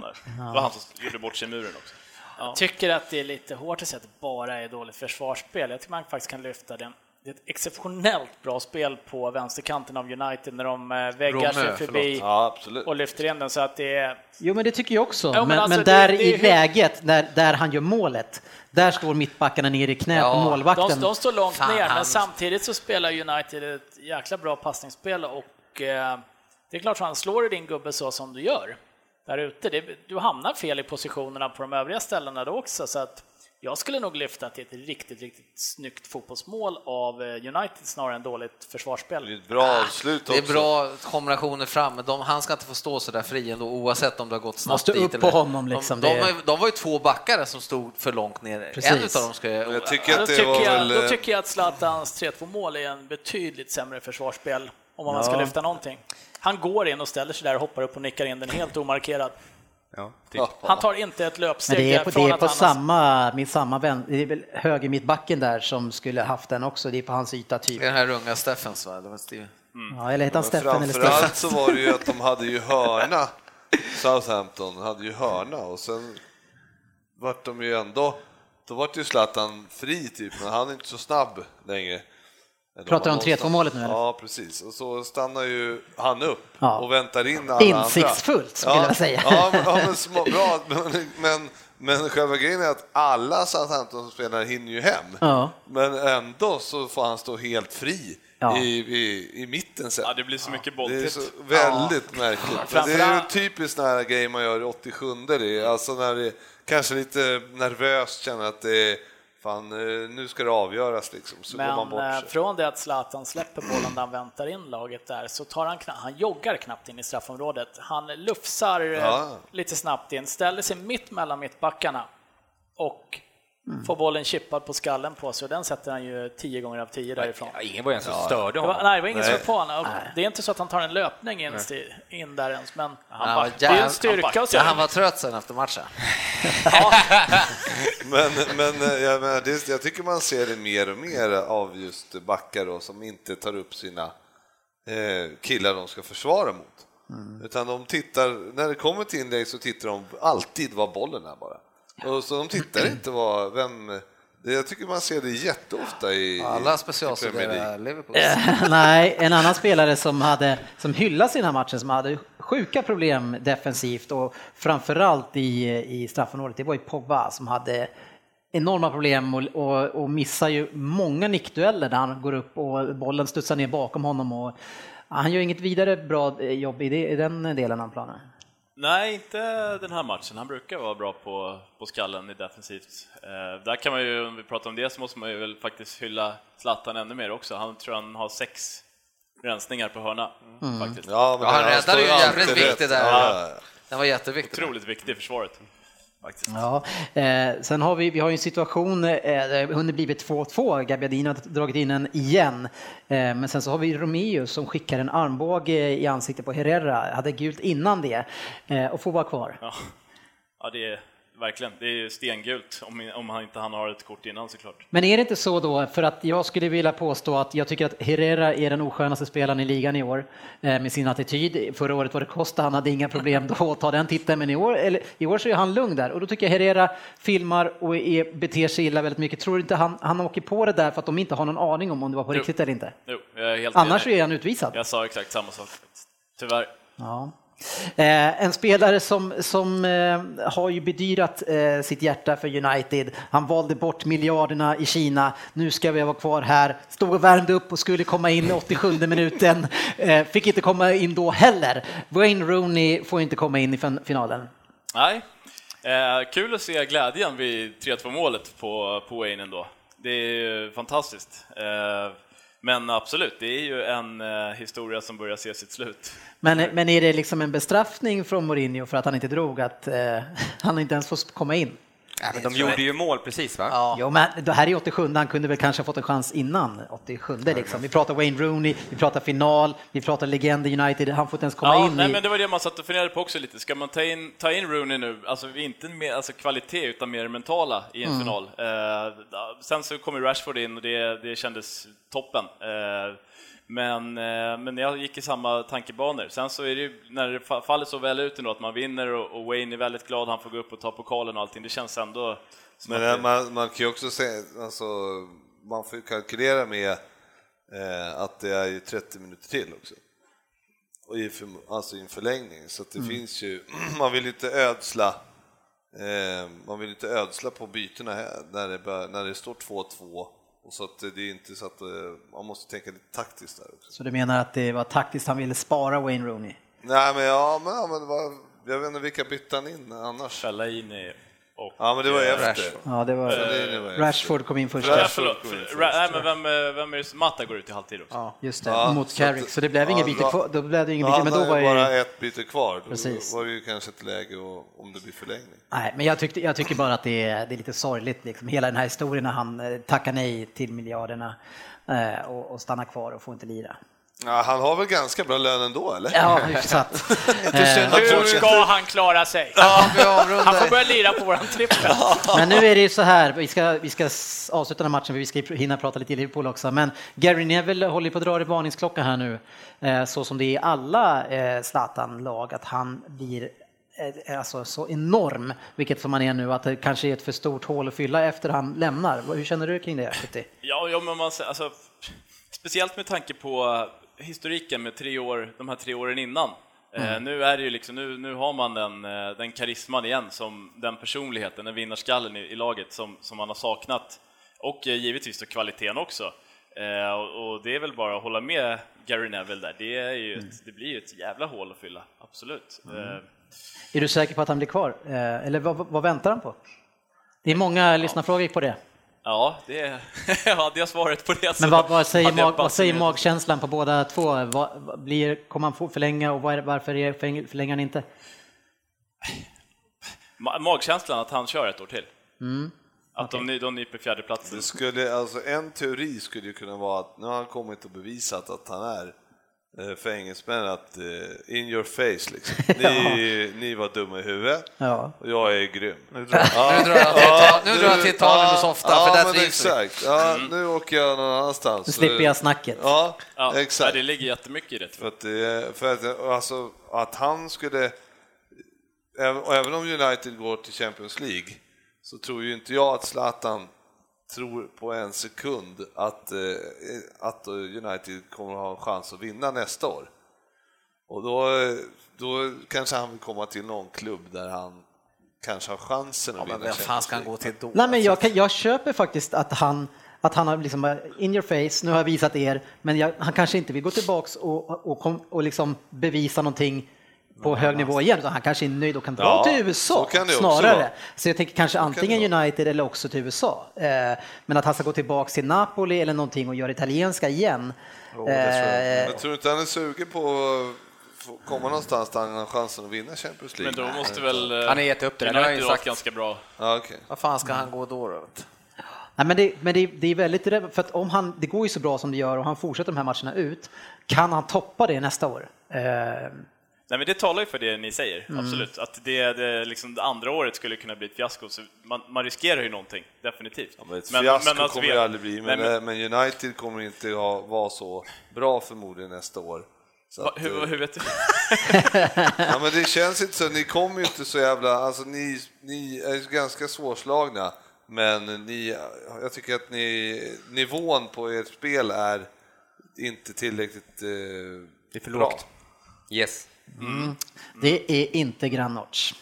S5: där. Det var han som gjorde bort sig i muren också.
S4: Jag tycker att det är lite hårt att säga att det bara är dåligt försvarsspel. Jag tycker man faktiskt kan lyfta den. Det är ett exceptionellt bra spel på vänsterkanten av United när de eh, väggar
S7: Romeo,
S4: sig förbi
S6: Ja, absolut.
S4: och lyfter in den så att det är...
S2: Jo, men det tycker jag också.
S4: Ja, men
S2: men, men,
S4: alltså,
S2: där
S4: det- det
S2: i
S4: är ju-
S2: läget, där, där han gör målet, där står mittbackarna ner i knät på
S7: Ja,
S2: målvakten.
S4: De, de står långt
S2: Fan,
S4: ner, men
S2: han-
S4: samtidigt så spelar United ett jäkla bra passningsspel och eh, det är klart att han slår i din gubbe så som du gör där ute. Det, du hamnar fel i positionerna på de övriga ställena då också, så att Jag skulle nog lyfta till ett riktigt, riktigt snyggt fotbollsmål av eh, United snarare än dåligt
S6: Det är
S4: försvarsspel.
S6: ett bra avslut
S3: Det
S6: också.
S3: är bra kombinationer fram, men de, han ska inte få stå så där fri ändå oavsett om det har gått snabbt
S2: Måste
S3: dit
S2: upp på honom liksom,
S3: De,
S2: det
S3: de,
S2: är-
S3: var ju- de var ju två backare som stod för långt ner.
S2: Precis.
S3: En utav dem ska ju...
S6: Jag tycker
S4: Då
S6: att det var
S4: tycker, jag,
S6: väl...
S4: då
S6: eh,
S4: tycker jag att Zlatans 3-2 mål är en betydligt sämre försvarsspel om man ska lyfta någonting. Han går in och ställer sig där och hoppar upp och nickar in den helt omarkerad.
S7: Ja, typ.
S6: ja.
S4: Han tar inte ett
S2: Men
S4: löpsteg
S2: det är på,
S4: där
S2: det
S4: från
S2: är
S4: att
S2: på
S4: han har-
S2: samma, med samma vän, det är väl höger mittbacken där som skulle haft den också, det är på hans yta typ.
S3: Den här unga Steffens va? Det var Steve.
S2: Ja, eller heter han Steffen eller Steffen?
S6: Framförallt så var det ju att de hade ju hörna. Southampton hade ju hörna och sen vart de ju ändå... Då vart ju Zlatan fri typ, men han är inte så snabb längre. De
S2: Pratar du om
S6: var
S2: 3-2 målet nu, eller?
S6: Ja, precis. Och så stannar ju han upp
S2: Ja.
S6: och väntar in alla andra.
S2: Insiktsfullt, skulle jag säga.
S6: Ja, men, ja, men små, bra. Men, men, men själva grejen är att alla Southampton-spelare hinner ju hem.
S2: Ja.
S6: Men ändå så får han stå helt fri
S2: Ja.
S6: i, i, i mitten sen.
S5: Ja, det blir så mycket
S6: Det är
S5: bolltipp.
S6: så väldigt märkligt. Men Det är ju
S4: Framförallt-
S6: en typisk sån här grej man gör i 87 det är alltså när det är kanske lite nervöst känner att det är fan eh, nu ska det avgöras liksom så går man
S4: Men eh,
S6: bort sig.
S4: från det att Zlatan släpper bollen där han väntar in laget där så tar han knappt, han joggar knappt in i straffområdet. Han lufsar eh,
S6: Ja.
S4: lite snabbt in, ställer sig mitt mellan mittbackarna och får bollen chippad på skallen på sig och den sätter han ju 10 gånger av 10 därifrån.
S7: Ja, ingen var ens som störde
S4: Det var,
S7: honom.
S4: nej, det var ingen som
S6: Nej.
S4: höll på honom. Det är inte så att han tar en löpning in, in där ens, men han,
S3: Han
S4: bara,
S3: var
S4: det är ju
S3: jävla-
S4: en styrka att se.
S3: Ja, han var trött sen efter matchen.
S6: Men, men eh, jag, menar, det, jag tycker man ser det mer och mer av just backar då, som inte tar upp sina eh, killar de ska försvara mot. Utan de tittar, när det kommer till inlägg så tittar de alltid var bollen är bara. Och så de tittar inte vad, vem, det- jag tycker man ser det jätteofta i
S3: Alla
S6: i Premier League.
S3: specialstuderar Liverpool.
S2: Nej, en annan spelare som, hade, som hyllas i den här matchen, som hade sjuka problem defensivt och framförallt i, i straffområdet, det var ju Pogba som hade enorma problem och, och, och missar ju många nickdueller där han går upp och bollen studsar ner bakom honom. Och, han gör inget vidare bra eh, jobb i det- i den delen av planen.
S5: Nej, inte den här matchen. Han brukar vara bra på, på skallen i defensivt. Eh, där kan man ju, om vi pratar om det, så måste man ju väl faktiskt hylla Zlatan ännu mer också. Han tror han har sex rensningar på hörna,
S2: Mm.
S5: faktiskt.
S6: Ja, men
S3: Ja, han
S6: han
S3: räddade ju
S6: står alltid
S3: jävligt
S6: rätt.
S3: viktigt där.
S6: Ja, ja.
S3: Den var jätteviktig.
S5: Otroligt viktig i försvaret. Faktiskt.
S2: Ja, eh, sen har vi, vi har ju en situation eh, där det har hunnit blivit 2-2. Gabbiadini har dragit in en igen. Eh, men sen så har vi Romeo som skickar en armbåge i ansiktet på Herrera. Hade gult innan det eh, och får vara kvar.
S5: Ja. ja, det är verkligen. Det är ju stengult om, om han inte han har ett kort innan såklart.
S2: Men är det inte så då, för att jag skulle vilja påstå att jag tycker att Herrera är den oskönaste spelaren i ligan i år eh, med sin attityd. Förra året var det Costa, han hade inga problem då att ta den titeln, men i år, eller, i år så är han lugn där och då tycker jag Herrera filmar och är, beter sig illa väldigt mycket. Tror du inte han, han åker på det där för att de inte har någon aning om om det var på
S5: Jo.
S2: riktigt eller inte?
S5: Jo, jag är helt
S2: Annars så
S5: enig.
S2: är han utvisad.
S5: Jag sa exakt samma sak faktiskt. Tyvärr.
S2: Ja. Eh, en spelare som, som eh, har ju bedyrat eh, sitt hjärta för United. Han valde bort miljarderna i Kina. Nu ska vi vara kvar här. Stod och värmde upp och skulle komma in i 87 minuten. Eh, fick inte komma in då heller. Wayne Rooney får inte komma in i fin- finalen.
S5: Nej. Eh, kul att se glädjen vid 3-2 målet på, på Wayne ändå. Det är ju fantastiskt. Eh, men absolut, det är ju en eh, historia som börjar se sitt slut.
S2: Men, men är det liksom en bestraffning från Mourinho för att han inte drog att eh, han inte ens får komma in?
S7: Ja, men de gjorde ju mål precis va?
S2: Ja. Jo, men det här är 87, han kunde väl kanske ha fått en chans innan 87. Liksom. Vi pratar Wayne Rooney, vi pratar final, vi pratar legend i United, han får inte ens komma
S5: Ja,
S2: in
S5: nej,
S2: i...
S5: men det var det man satt och funderade på också lite. Ska man ta in, ta in Rooney nu, alltså inte mer alltså kvalitet utan mer det mentala i en
S2: Mm.
S5: final? Eh, sen så kom ju Rashford in och det, det kändes toppen. Eh, men, eh, men jag gick i samma tankebanor. Sen så är det ju, när det fa- faller så väl ut ändå att man vinner och, och Wayne är väldigt glad, han får gå upp och ta pokalen och allting, det känns ändå som
S6: Men
S5: att det-
S6: eh, man, man kan ju också säga, alltså, man får ju kalkylera med eh, att det är ju 30 minuter till också. Och i, för, alltså i en förlängning, så att det finns ju, man vill ju inte ödsla eh, man vill inte ödsla på bytena här när det, bör, när det står 2-2 och så att det är inte så att eh, man måste tänka lite taktiskt där också.
S2: Så du menar att det var taktiskt, han ville spara Wayne Rooney?
S6: Nej men ja, men, ja, men det var, jag vet inte vilka bytte han in annars?
S5: Fellaini. och...
S6: Ja, men det var
S5: eh,
S6: efter.
S7: Rashford.
S2: Ja, det var...
S6: det- det var efter.
S2: Rashford kom in först.
S5: Nej,
S6: Rashford.
S5: förlåt.
S6: går in först.
S5: Ra- nej, men vem, eh, vem är det som... Matta går ut i halvtid också.
S2: Ja, just det,
S6: Ja,
S2: mot
S6: så att-
S2: Carrick. Så, det blev
S6: ja,
S2: inget byte
S6: ra-
S2: kvar. Då blev det inget
S6: Ja,
S2: byte, men då var
S6: bara
S2: ju...
S6: ett byte kvar. Då
S2: Precis.
S6: var det ju kanske ett läge och, om det blir förlängning.
S2: Nej, men jag, tyckte, jag tycker bara att det är, det är lite sorgligt, liksom. hela den här historien när han eh, tackar nej till miljarderna eh, och, och stannar kvar och får inte lira.
S6: Ja, han har väl ganska bra lön ändå, eller?
S2: Ja, hyfsat. Eh,
S4: Hur ska han klara sig?
S3: Ja, vi avrundar.
S4: Han får börja lira på våran trippel.
S2: Men nu är det ju så här, vi ska, vi ska s- avsluta den här matchen för vi ska ju hinna prata lite i Liverpool också, men Gary Neville håller ju på att dra i varningsklocka här nu, eh, så som det är i alla eh, Zlatan-lag, att han blir eh, alltså så enorm, vilket som han är nu, att det kanske är ett för stort hål att fylla efter han lämnar. Vad- Hur känner du kring det? Putti?
S5: Ja, ja men man, sä- alltså, speciellt med tanke på eh, historiken med tre år, de här tre åren innan. Eh,
S2: Mm.
S5: nu, är det ju liksom, nu, nu har man den, eh, den karisman igen, som, den personligheten, den vinnarskallen i, i laget som, som man har saknat. Och eh, givetvis då kvaliteten också. Eh, och, och det är väl bara att hålla med Gary Neville där, det, är ju
S2: Mm.
S5: ett, det blir ju ett jävla hål att fylla, absolut. Eh,
S2: Är du säker på att han blir kvar? Eh, eller vad, vad väntar han på? Det är många lyssnarfrågor på det.
S5: ja, det, hade jag svaret på det
S2: Men
S5: så
S2: vad, vad, säger,
S5: hade jag
S2: mag, vad
S5: passat
S2: säger
S5: in.
S2: magkänslan på båda två? Vad, vad blir, kommer han få förlänga och vad är, varför är, förläng- förlänger han inte?
S5: Ma- magkänslan att han kör ett år till.
S2: Mm.
S5: Att de, ny- de nyper fjärdeplatsen.
S6: Det skulle, alltså, en teori skulle ju kunna vara att nu har han kommit och bevisat att han är eh, för engelsmännen att eh, in your face liksom. Ni, ni var dumma i huvudet
S2: Ja.
S6: och jag är grym. Nu
S3: Nu drar han till Italien- nu drar han till Italien och softar,
S6: ja,
S3: för där
S6: men
S3: trivs vi.
S6: exakt. Ja, Nu åker jag någon annanstans.
S2: Nu slipper jag snacket.
S6: Ja,
S5: Ja,
S6: exakt.
S5: Det ligger jättemycket i det.
S6: För att, det- för att, alltså, att han skulle... även- och Även om United går till Champions League så tror ju inte jag att Zlatan tror på en sekund att, eh, att United kommer att ha en chans att vinna nästa år. Och då, eh, då kanske han vill komma till någon klubb där han kanske har chansen att
S3: Ja,
S6: vinna
S3: men vem fan
S6: Champions
S3: ska han
S6: League.
S3: gå till då?
S2: Nej, men jag, kan, jag köper faktiskt att han, att han har liksom eh, in your face, nu har jag visat er, men jag, han kanske inte vill gå tillbaks och, och, kom, och liksom bevisa någonting på hög nivå igen, utan han kanske är nöjd och kan dra
S6: Ja,
S2: till USA
S6: så kan det också vara.
S2: snarare. Så jag tänker kanske
S6: det
S2: antingen
S6: vara.
S2: United eller också till USA. Eh, Men att han ska gå tillbaks till Napoli eller någonting och göra italienska igen. Eh,
S6: Men tror du inte han är sugen på att få komma någonstans där han har chansen att vinna Champions
S5: Men
S6: League?
S5: då måste väl... eh,
S7: Han har gett upp det där, det har jag ju
S5: United åkt
S7: sagt.
S5: ganska bra.
S6: Ja, okej.
S3: Vad fan ska han gå då? då? vet du?
S2: Nej, men det, men det, det är väldigt rädd- för att om han, det går ju så bra som det gör och han fortsätter de här matcherna ut, kan han toppa det nästa år? Eh,
S5: Nej, men det talar ju för det ni säger,
S7: Mm.
S5: absolut. Att det, det, liksom, det andra året skulle kunna bli ett fiasko, så man, man riskerar ju någonting, definitivt.
S6: Ja, men ett fiasko kommer
S5: vi-
S6: det aldrig bli, men,
S5: alltså, Nej, men,
S6: men United kommer inte ha, vara så bra förmodligen nästa år. Så
S5: va,
S6: att,
S5: hur,
S6: eh,
S5: hur vet du?
S6: ja, men det känns inte så, ni kommer ju inte så jävla, alltså ni, ni är ju ganska svårslagna, men ni, jag tycker att ni, nivån på ert spel är inte tillräckligt eh,
S7: Det är för
S6: bra.
S7: lågt. Yes.
S2: det är inte Granoch.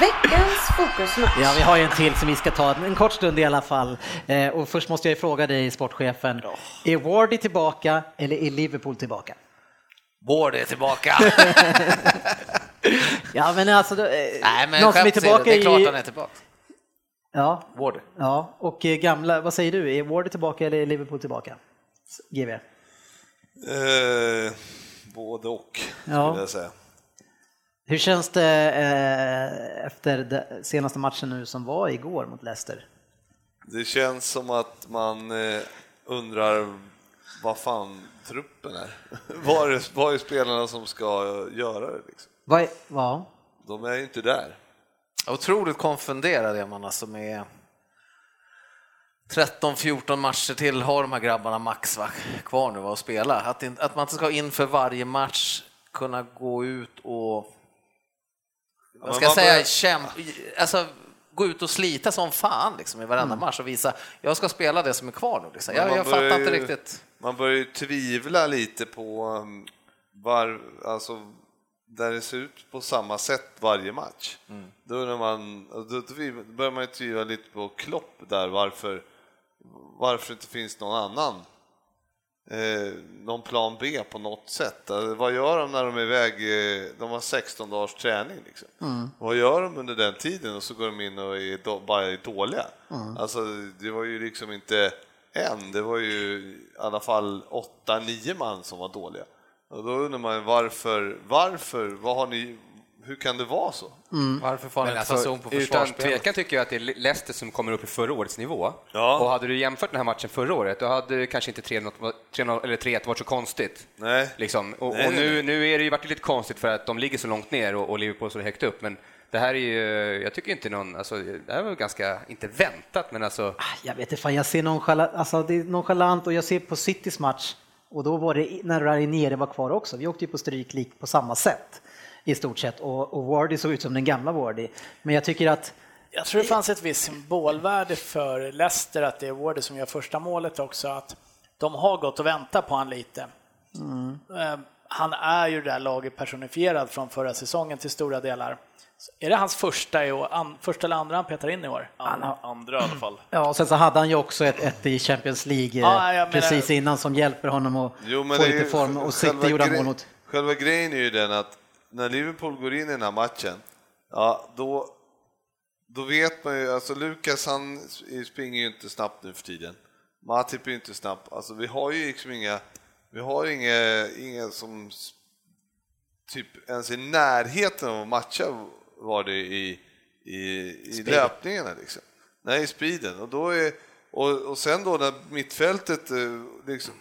S1: Veckans fokusmatch.
S2: Ja, vi har ju en till som vi ska ta en kort stund i alla fall. Eh, och först måste jag ju fråga dig, sportchefen, är Wardy tillbaka eller är Liverpool tillbaka?
S3: Ward är tillbaka.
S2: Ja, men alltså, då, eh,
S3: Nej, men
S2: någon som är
S3: skämt åsido,
S2: tillbaka
S3: det är klart han
S2: i...
S3: är tillbaka.
S2: Ja,
S3: Ward.
S2: ja, och eh, gamla, vad säger du, är Wardy tillbaka eller är Liverpool tillbaka? GV.
S6: Eh, både och, skulle
S2: Ja.
S6: jag säga.
S2: Hur känns det eh, efter de- senaste matchen nu som var igår mot Leicester?
S6: Det känns som att man eh, undrar vad fan truppen är. Vad är, vad är spelarna som ska göra det? Liksom?
S2: Vad är, ja.
S6: De är ju inte där.
S3: Otroligt konfunderad är man alltså med 13-14 matcher till har de här grabbarna max va, kvar nu va, att spela. Att, in, att man inte ska inför varje match kunna gå ut och,
S6: men
S3: vad ska jag
S6: man
S3: säga,
S6: börjar-
S3: kämpa, alltså gå ut och slita som fan liksom i varenda match och visa, jag ska spela det som är kvar nu liksom. Jag,
S6: Mm. Man
S3: jag
S6: börjar
S3: fattar inte
S6: ju-
S3: riktigt.
S6: Man börjar ju tvivla lite på um, var, alltså, där det ser ut på samma sätt varje match.
S3: Mm.
S6: Då, undrar man, då, då tvi- börjar man ju tvivla lite på Klopp där, varför, varför det inte finns någon annan eh, någon plan B på något sätt. Alltså, vad gör de när de är iväg? eh, De har 16 dagars träning. Liksom. Vad gör de under den tiden? Och så går de in och är då, bara är dåliga. Alltså, det var ju liksom inte en, det var ju i alla fall 8-9 man som var dåliga. Och då undrar man ju varför, varför, vad har ni, hur kan det vara så?
S7: Varför får han
S3: Men
S7: inte
S3: alltså, zon på
S7: för, Utan
S3: försvarsspelet.
S7: tvekan tycker jag att det är Le- Leicester som kommer upp i förra årets nivå.
S6: Ja.
S7: Och hade du jämfört den här matchen förra året, då hade det kanske inte 3-0 var- 3-0 eller 3-1 varit så konstigt.
S6: Nej.
S7: Liksom. Och,
S6: Nej,
S7: och
S6: nej,
S7: nu, nu är det ju varit lite konstigt för att de ligger så långt ner och, och Liverpool så högt upp. Men det här är ju, jag tycker inte någon, alltså, det här var ju ganska, inte väntat, men alltså
S2: Ah, Jag vet inte, fan, jag ser nonchalant, alltså det är nonchalant och jag ser på Citys match och då var det, när Ranieri var kvar också, vi åkte ju på stryk lik på samma sätt i stort sett och, och Wardy såg ut som den gamla Wardy. Men jag tycker att
S4: Jag tror det fanns ett visst symbolvärde för Leicester att det är Wardy som gör första målet också, att de har gått och väntat på han lite.
S5: Mm.
S4: Eh, Han är ju det där laget personifierad från förra säsongen till stora delar. Så Är det hans första, i år, an, första eller andra han petar in i år?
S5: Andra, andra i alla fall.
S2: Ja, och sen så hade han ju också ett, ett i Champions League eh,
S4: Ja, jag menar-
S2: precis innan som hjälper honom att få
S6: det är
S2: lite
S6: ju-
S2: form och
S6: själva
S2: City gjorde han
S6: gre-
S2: mål mot.
S6: Själva grejen är ju den att när Liverpool går in i den här matchen, ja då, då vet man ju, alltså Lukas han springer ju inte snabbt nu för tiden. Matip är ju inte snabb. Alltså vi har ju liksom inga, vi har inga, inga som s- typ ens i närheten av att matcha var det i, i, i löpningarna liksom. Nej, i speeden. Och, då är, och, och sen då när mittfältet, eh, liksom,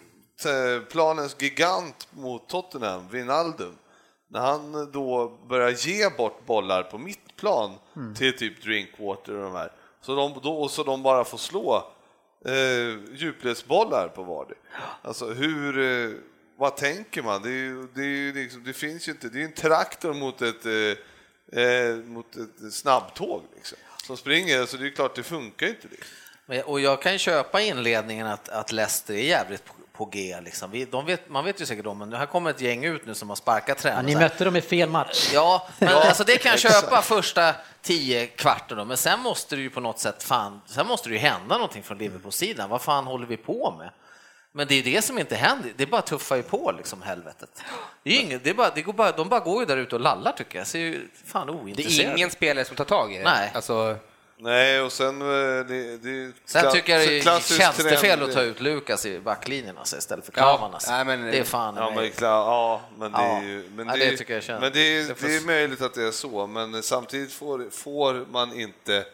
S6: t- planens gigant mot Tottenham, Wijnaldum, när han eh, då börjar ge bort bollar på mittplan till typ Drinkwater och de här, så de, då, och så de bara får slå eh, djupledsbollar på Vardy. Alltså hur, eh, vad tänker man? Det, är ju, det, är ju liksom, det finns ju inte, det är ju en traktor mot ett, eh, eh, mot ett snabbtåg liksom, som springer, så det är ju klart det funkar ju inte. Liksom.
S3: Men- Och jag kan ju köpa inledningen att, att Leicester är jävligt på, på G. Liksom. Vi, de vet, man vet ju säkert om, men här kommer ett gäng ut nu som har sparkat
S2: Ja,
S3: tränaren.
S2: ni mötte dem i fel match.
S3: Ja, men
S6: Ja,
S3: alltså det kan jag
S6: exakt.
S3: köpa första tio kvarten då, men sen måste det ju på något sätt fan, sen måste det ju hända någonting från Liverpool-sidan. Vad fan håller vi på med? Men det är ju det som inte händer, det bara tuffar ju på liksom helvetet. Det är ju inget, det är bara, det går bara, de bara går ju där ute och lallar tycker jag, ser ju fan
S7: det
S3: ointresserade
S7: är ingen spelare som tar tag i det.
S3: Nej.
S7: Alltså,
S6: Nej, och sen eh, det, det är ju
S3: Sen
S6: kla-
S3: tycker jag det är
S6: klassisk
S3: tjänstefel
S6: trend-
S3: att ta ut Lukas i backlinjen alltså, istället för
S7: Ja,
S3: Kravan. Alltså.
S7: nej, men-
S3: det är fan
S6: Ja, men,
S3: mig.
S6: klar, ja, men det är ju... Men
S3: Ja,
S6: det, är-
S3: det tycker jag känns-
S6: men det, är,
S3: det får-
S6: det är möjligt att det är så, men samtidigt får, får man inte...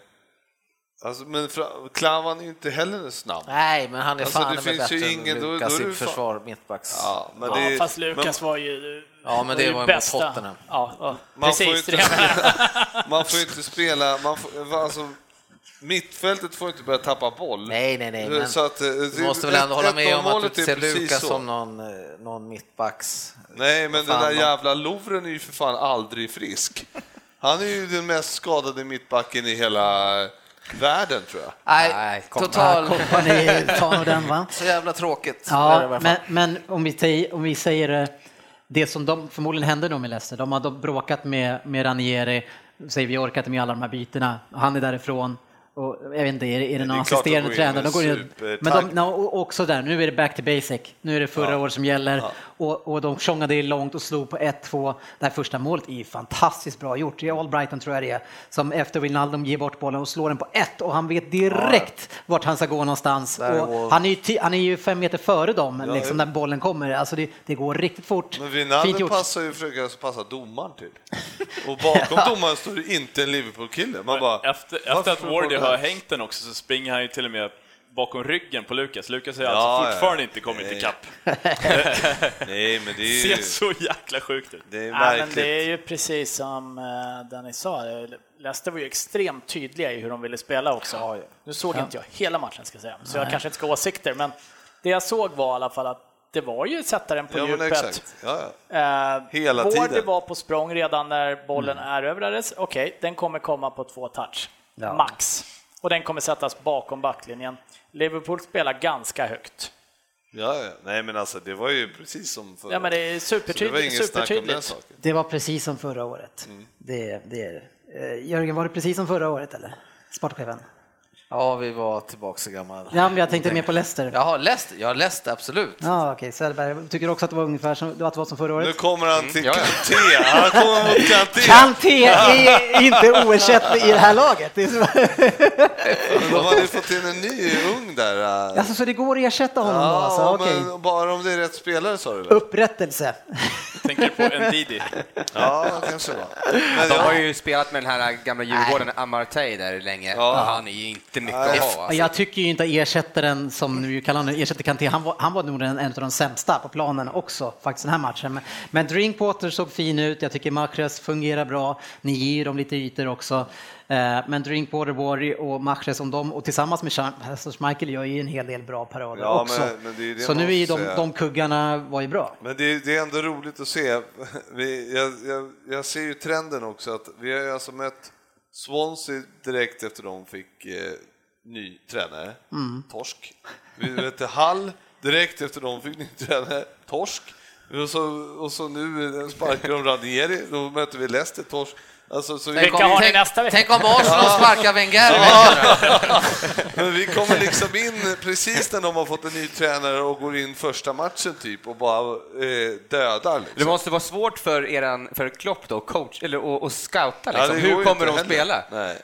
S6: Alltså, men fra- Klavan är ju inte heller snabb.
S3: Nej, men han är
S6: Alltså,
S3: fan
S6: det
S3: med
S6: finns
S3: bättre
S6: ju
S3: än
S6: ingen- då- då
S3: Lukas
S6: är
S3: i
S6: du fan-
S3: försvar, mittbacks...
S6: Ja, men
S4: Ja,
S6: det,
S4: fast Lukas var ju
S3: Ja, men det
S4: ju
S3: var ju mot Tottenham.
S4: Ja, ja.
S6: Man får
S4: precis.
S6: ju inte-
S4: det jag menar.
S6: man, man får ju inte spela... Man får, alltså, mittfältet får inte börja tappa boll.
S3: Nej, nej, nej. Men
S6: Så att, eh,
S3: du
S6: det-
S3: måste väl ändå
S6: ett-
S3: hålla med om att du
S6: ett-noll-målet
S3: inte ser
S6: är precis
S3: Lukas
S6: så.
S3: som någon, eh, någon mittbacks...
S6: Nej, men
S3: Vad fan,
S6: den där
S3: de-
S6: jävla Lovren är ju för fan aldrig frisk. Han är ju den mest skadade mittbacken i hela världen, tror jag.
S3: Nej,
S7: Nej, kom-
S2: Ja,
S3: total...
S2: Kompani tar nog den va?
S3: Så jävla tråkigt. Där är det i
S2: Ja,
S3: alla
S2: men,
S3: fall.
S2: men om, vi säger, om vi säger eh, det som de förmodligen hände då med Leicester, de har då bråkat med, med Ranieri, säger vi orkar inte med alla de här bytena, han är därifrån. Och, jag vet inte, är det, är det någon
S6: klart de går
S2: assisterande
S6: in
S2: tränare? De
S6: med
S2: går in,
S6: supertakt.
S2: men de, no, och också där, nu är det back to basic, nu är det förra året som gäller. Och, och de tjongade i långt och slog på 1-2. Det här första målet är ju fantastiskt bra gjort, det är Albrighton tror jag det är, som efter Wijnaldum ger bort bollen och slår den på 1 och han vet direkt vart han ska gå någonstans.
S3: Där är
S2: Och
S3: Wall-
S2: han är, ju ti- han är ju fem meter före dem liksom, när bollen kommer. Alltså det, det går riktigt fort.
S6: Men
S2: Fint
S6: Wijnaldum
S2: gjort.
S6: passar ju försöker alltså passa domaren till. Och bakom domaren står det inte en Liverpool-kille. Man bara,
S5: Efter, efter
S6: varför
S5: att Wardy
S6: får det
S5: har
S6: här?
S5: hängt den också så springer han ju till och med bakom ryggen på Lukas. Lukas har ju
S6: Ja,
S5: alltså
S6: ja.
S5: fortfarande inte kommit
S6: Nej.
S5: ikapp.
S6: Nej, men det
S5: Det
S6: är
S5: ser så
S6: ju
S5: jäkla sjukt ut.
S6: det är
S4: Nej, men
S6: märkligt.
S4: det är ju precis som eh, Dennis sa, Leicester var ju extremt tydliga i hur de ville spela också. Nu såg inte jag hela matchen ska jag säga, så jag kanske inte ska ha åsikter, men det jag såg var i alla fall att det var ju sättaren på
S6: Ja, men
S4: djupet.
S6: exakt. Ja, ja.
S4: Eh,
S6: Hela
S4: Vardy
S6: tiden. Mm.
S4: var på språng redan när bollen erövrades. Okej, den kommer komma på två touch,
S2: Ja.
S4: max. Och den kommer sättas bakom backlinjen. Liverpool spelar ganska högt.
S6: Ja, ja. Nej, men alltså det var ju precis som förra.
S4: Ja, men det är
S6: Så det var
S4: supertydligt.
S6: inget snack om den
S4: supertydligt.
S6: saken.
S2: Det var precis som förra
S6: Mm.
S2: året. Det, det är det. Eh, Jörgen, var det precis som förra året eller? Sportchefen?
S3: Ja, vi var tillbaka så gammal.
S2: Ja, men jag tänkte mer på Leicester. Ja,
S3: Jaha, läst. Jag läste absolut.
S2: okej. Söderberg tycker också att det var ungefär som, att det var som förra
S6: Nu
S2: året.
S6: kommer han till
S7: Mm, ja, ja.
S6: Kanté. Han kommer mot Kanté.
S2: Kanté är E inte oersättlig i det här laget. Det är så-
S6: De hade ju fått in en ny ung där. äh.
S2: Alltså, så det går att ersätta honom då? Alltså,
S6: Ja,
S2: okej.
S6: men bara om det är rätt spelare sa du väl?
S2: Upprättelse.
S5: Tänker på Ndidi.
S6: Ja, kanske det var. Men
S7: De har
S6: jag,
S7: ju spelat med den här gamla djurgården Amartey där länge.
S6: Ja.
S7: Han är ju inte mycket
S6: Nej.
S7: att ha.
S2: Men
S7: Alltså.
S2: Jag tycker ju inte att ersättaren, som nu kallar honom, ersätter Kanté, han var, han var nog en, en av de sämsta på planen också faktiskt den här matchen. Men, men Drinkwater såg fin ut, jag tycker Mahrez fungerar bra, ni ger dem lite ytor också. Eh, men Drinkwater, Borg och Mahrez, om de, och tillsammans med Schmeichel gör ju en hel del bra parader
S6: Ja,
S2: också.
S6: men- men det är ju det
S2: Så
S6: man
S2: nu är ju
S6: måste
S2: de,
S6: säga.
S2: de kuggarna var ju bra.
S6: men det, är- det är ändå roligt att se. Vi, jag, jag, jag ser ju trenden också att vi har ju alltså mött Swansea direkt efter de fick eh, ny tränare, torsk. Vi mötte Hall direkt efter de fick ny tränare, torsk. Och så, och så nu sparkar de Ranieri, då möter vi Leicester, torsk. Alltså, så vi,
S4: Vilka har ni
S3: tänk,
S4: nästa vecka?
S3: Tänk om Arsenal sparkar Wenger i veckan.
S6: Men vi kommer liksom in precis när de har fått en ny tränare och går in första matchen typ och bara eh, dödar.
S7: Det
S6: Liksom.
S7: måste vara svårt för, eran, för Klopp då, coach, eller och, och scouta
S6: Ja,
S7: liksom.
S6: det går ju
S7: Hur kommer
S6: inte
S7: de
S6: heller.
S7: spela?
S6: Nej.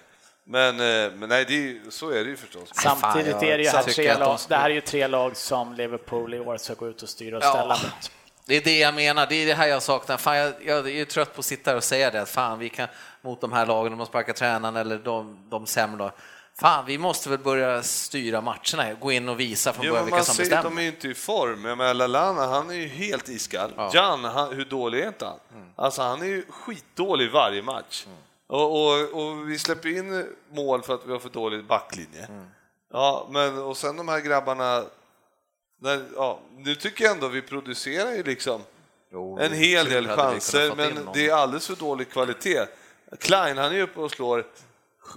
S6: Men, eh, men nej, det är, ju- så är det ju förstås.
S3: Alltså,
S4: Samtidigt
S3: jag
S4: är det ju här
S3: tycker
S4: tre
S3: att de
S4: lag,
S3: ska-
S4: det här är ju tre lag som Liverpool i år ska gå ut och styra och
S3: Ja.
S4: ställa mot.
S3: Det är det jag menar, det är det här jag saknar. Fan, jag, jag är ju trött på att sitta här och säga det, att fan vi kan mot de här lagen, om de sparkar tränaren eller de, de sämre lagen. Fan, vi måste väl börja styra matcherna, gå in och visa från
S6: Jo,
S3: början
S6: men
S3: vilka
S6: man
S3: som
S6: ser,
S3: bestämmer.
S6: de är ju inte i form. Jag menar, Lalana, han är ju helt iskall. Jan, han, hur dålig är inte han?
S3: Mm.
S6: Alltså, han är ju skitdålig varje match. Och, och, och vi släpper in mål för att vi har för dålig backlinje.
S3: Mm.
S6: Ja, men och sen de här grabbarna. När, ja, nu tycker jag ändå vi producerar ju liksom en hel del
S3: hade vi kunnat
S6: chanser,
S3: fått in
S6: men
S3: någon.
S6: det är alldeles för dålig kvalitet. Klein, han är uppe och slår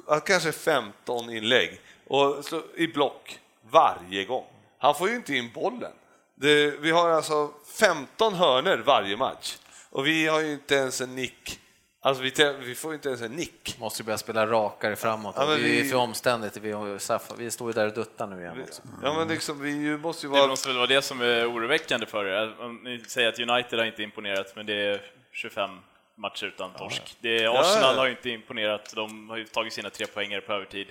S6: ja, kanske 15 inlägg och slår i block varje gång. Han får ju inte in bollen. Det, vi har alltså 15 hörner varje match och vi har ju inte ens en nick. Alltså vi, tä- vi får ju inte ens en nick.
S3: Måste ju börja spela rakare framåt.
S6: Ja, men
S3: vi... är
S6: vi-
S3: ju för omständigt, vi, har ju Safa- vi står ju där och duttar nu igen också.
S6: Ja, men liksom, vi ju måste ju
S5: Det
S6: vara...
S5: måste väl vara det som är oroväckande för er. Om Ni säger att United har inte imponerat, men det är 25 matcher utan torsk. Det är
S6: Ja,
S5: Arsenal
S6: ja.
S5: har inte imponerat, de har ju tagit sina tre poängare på övertid.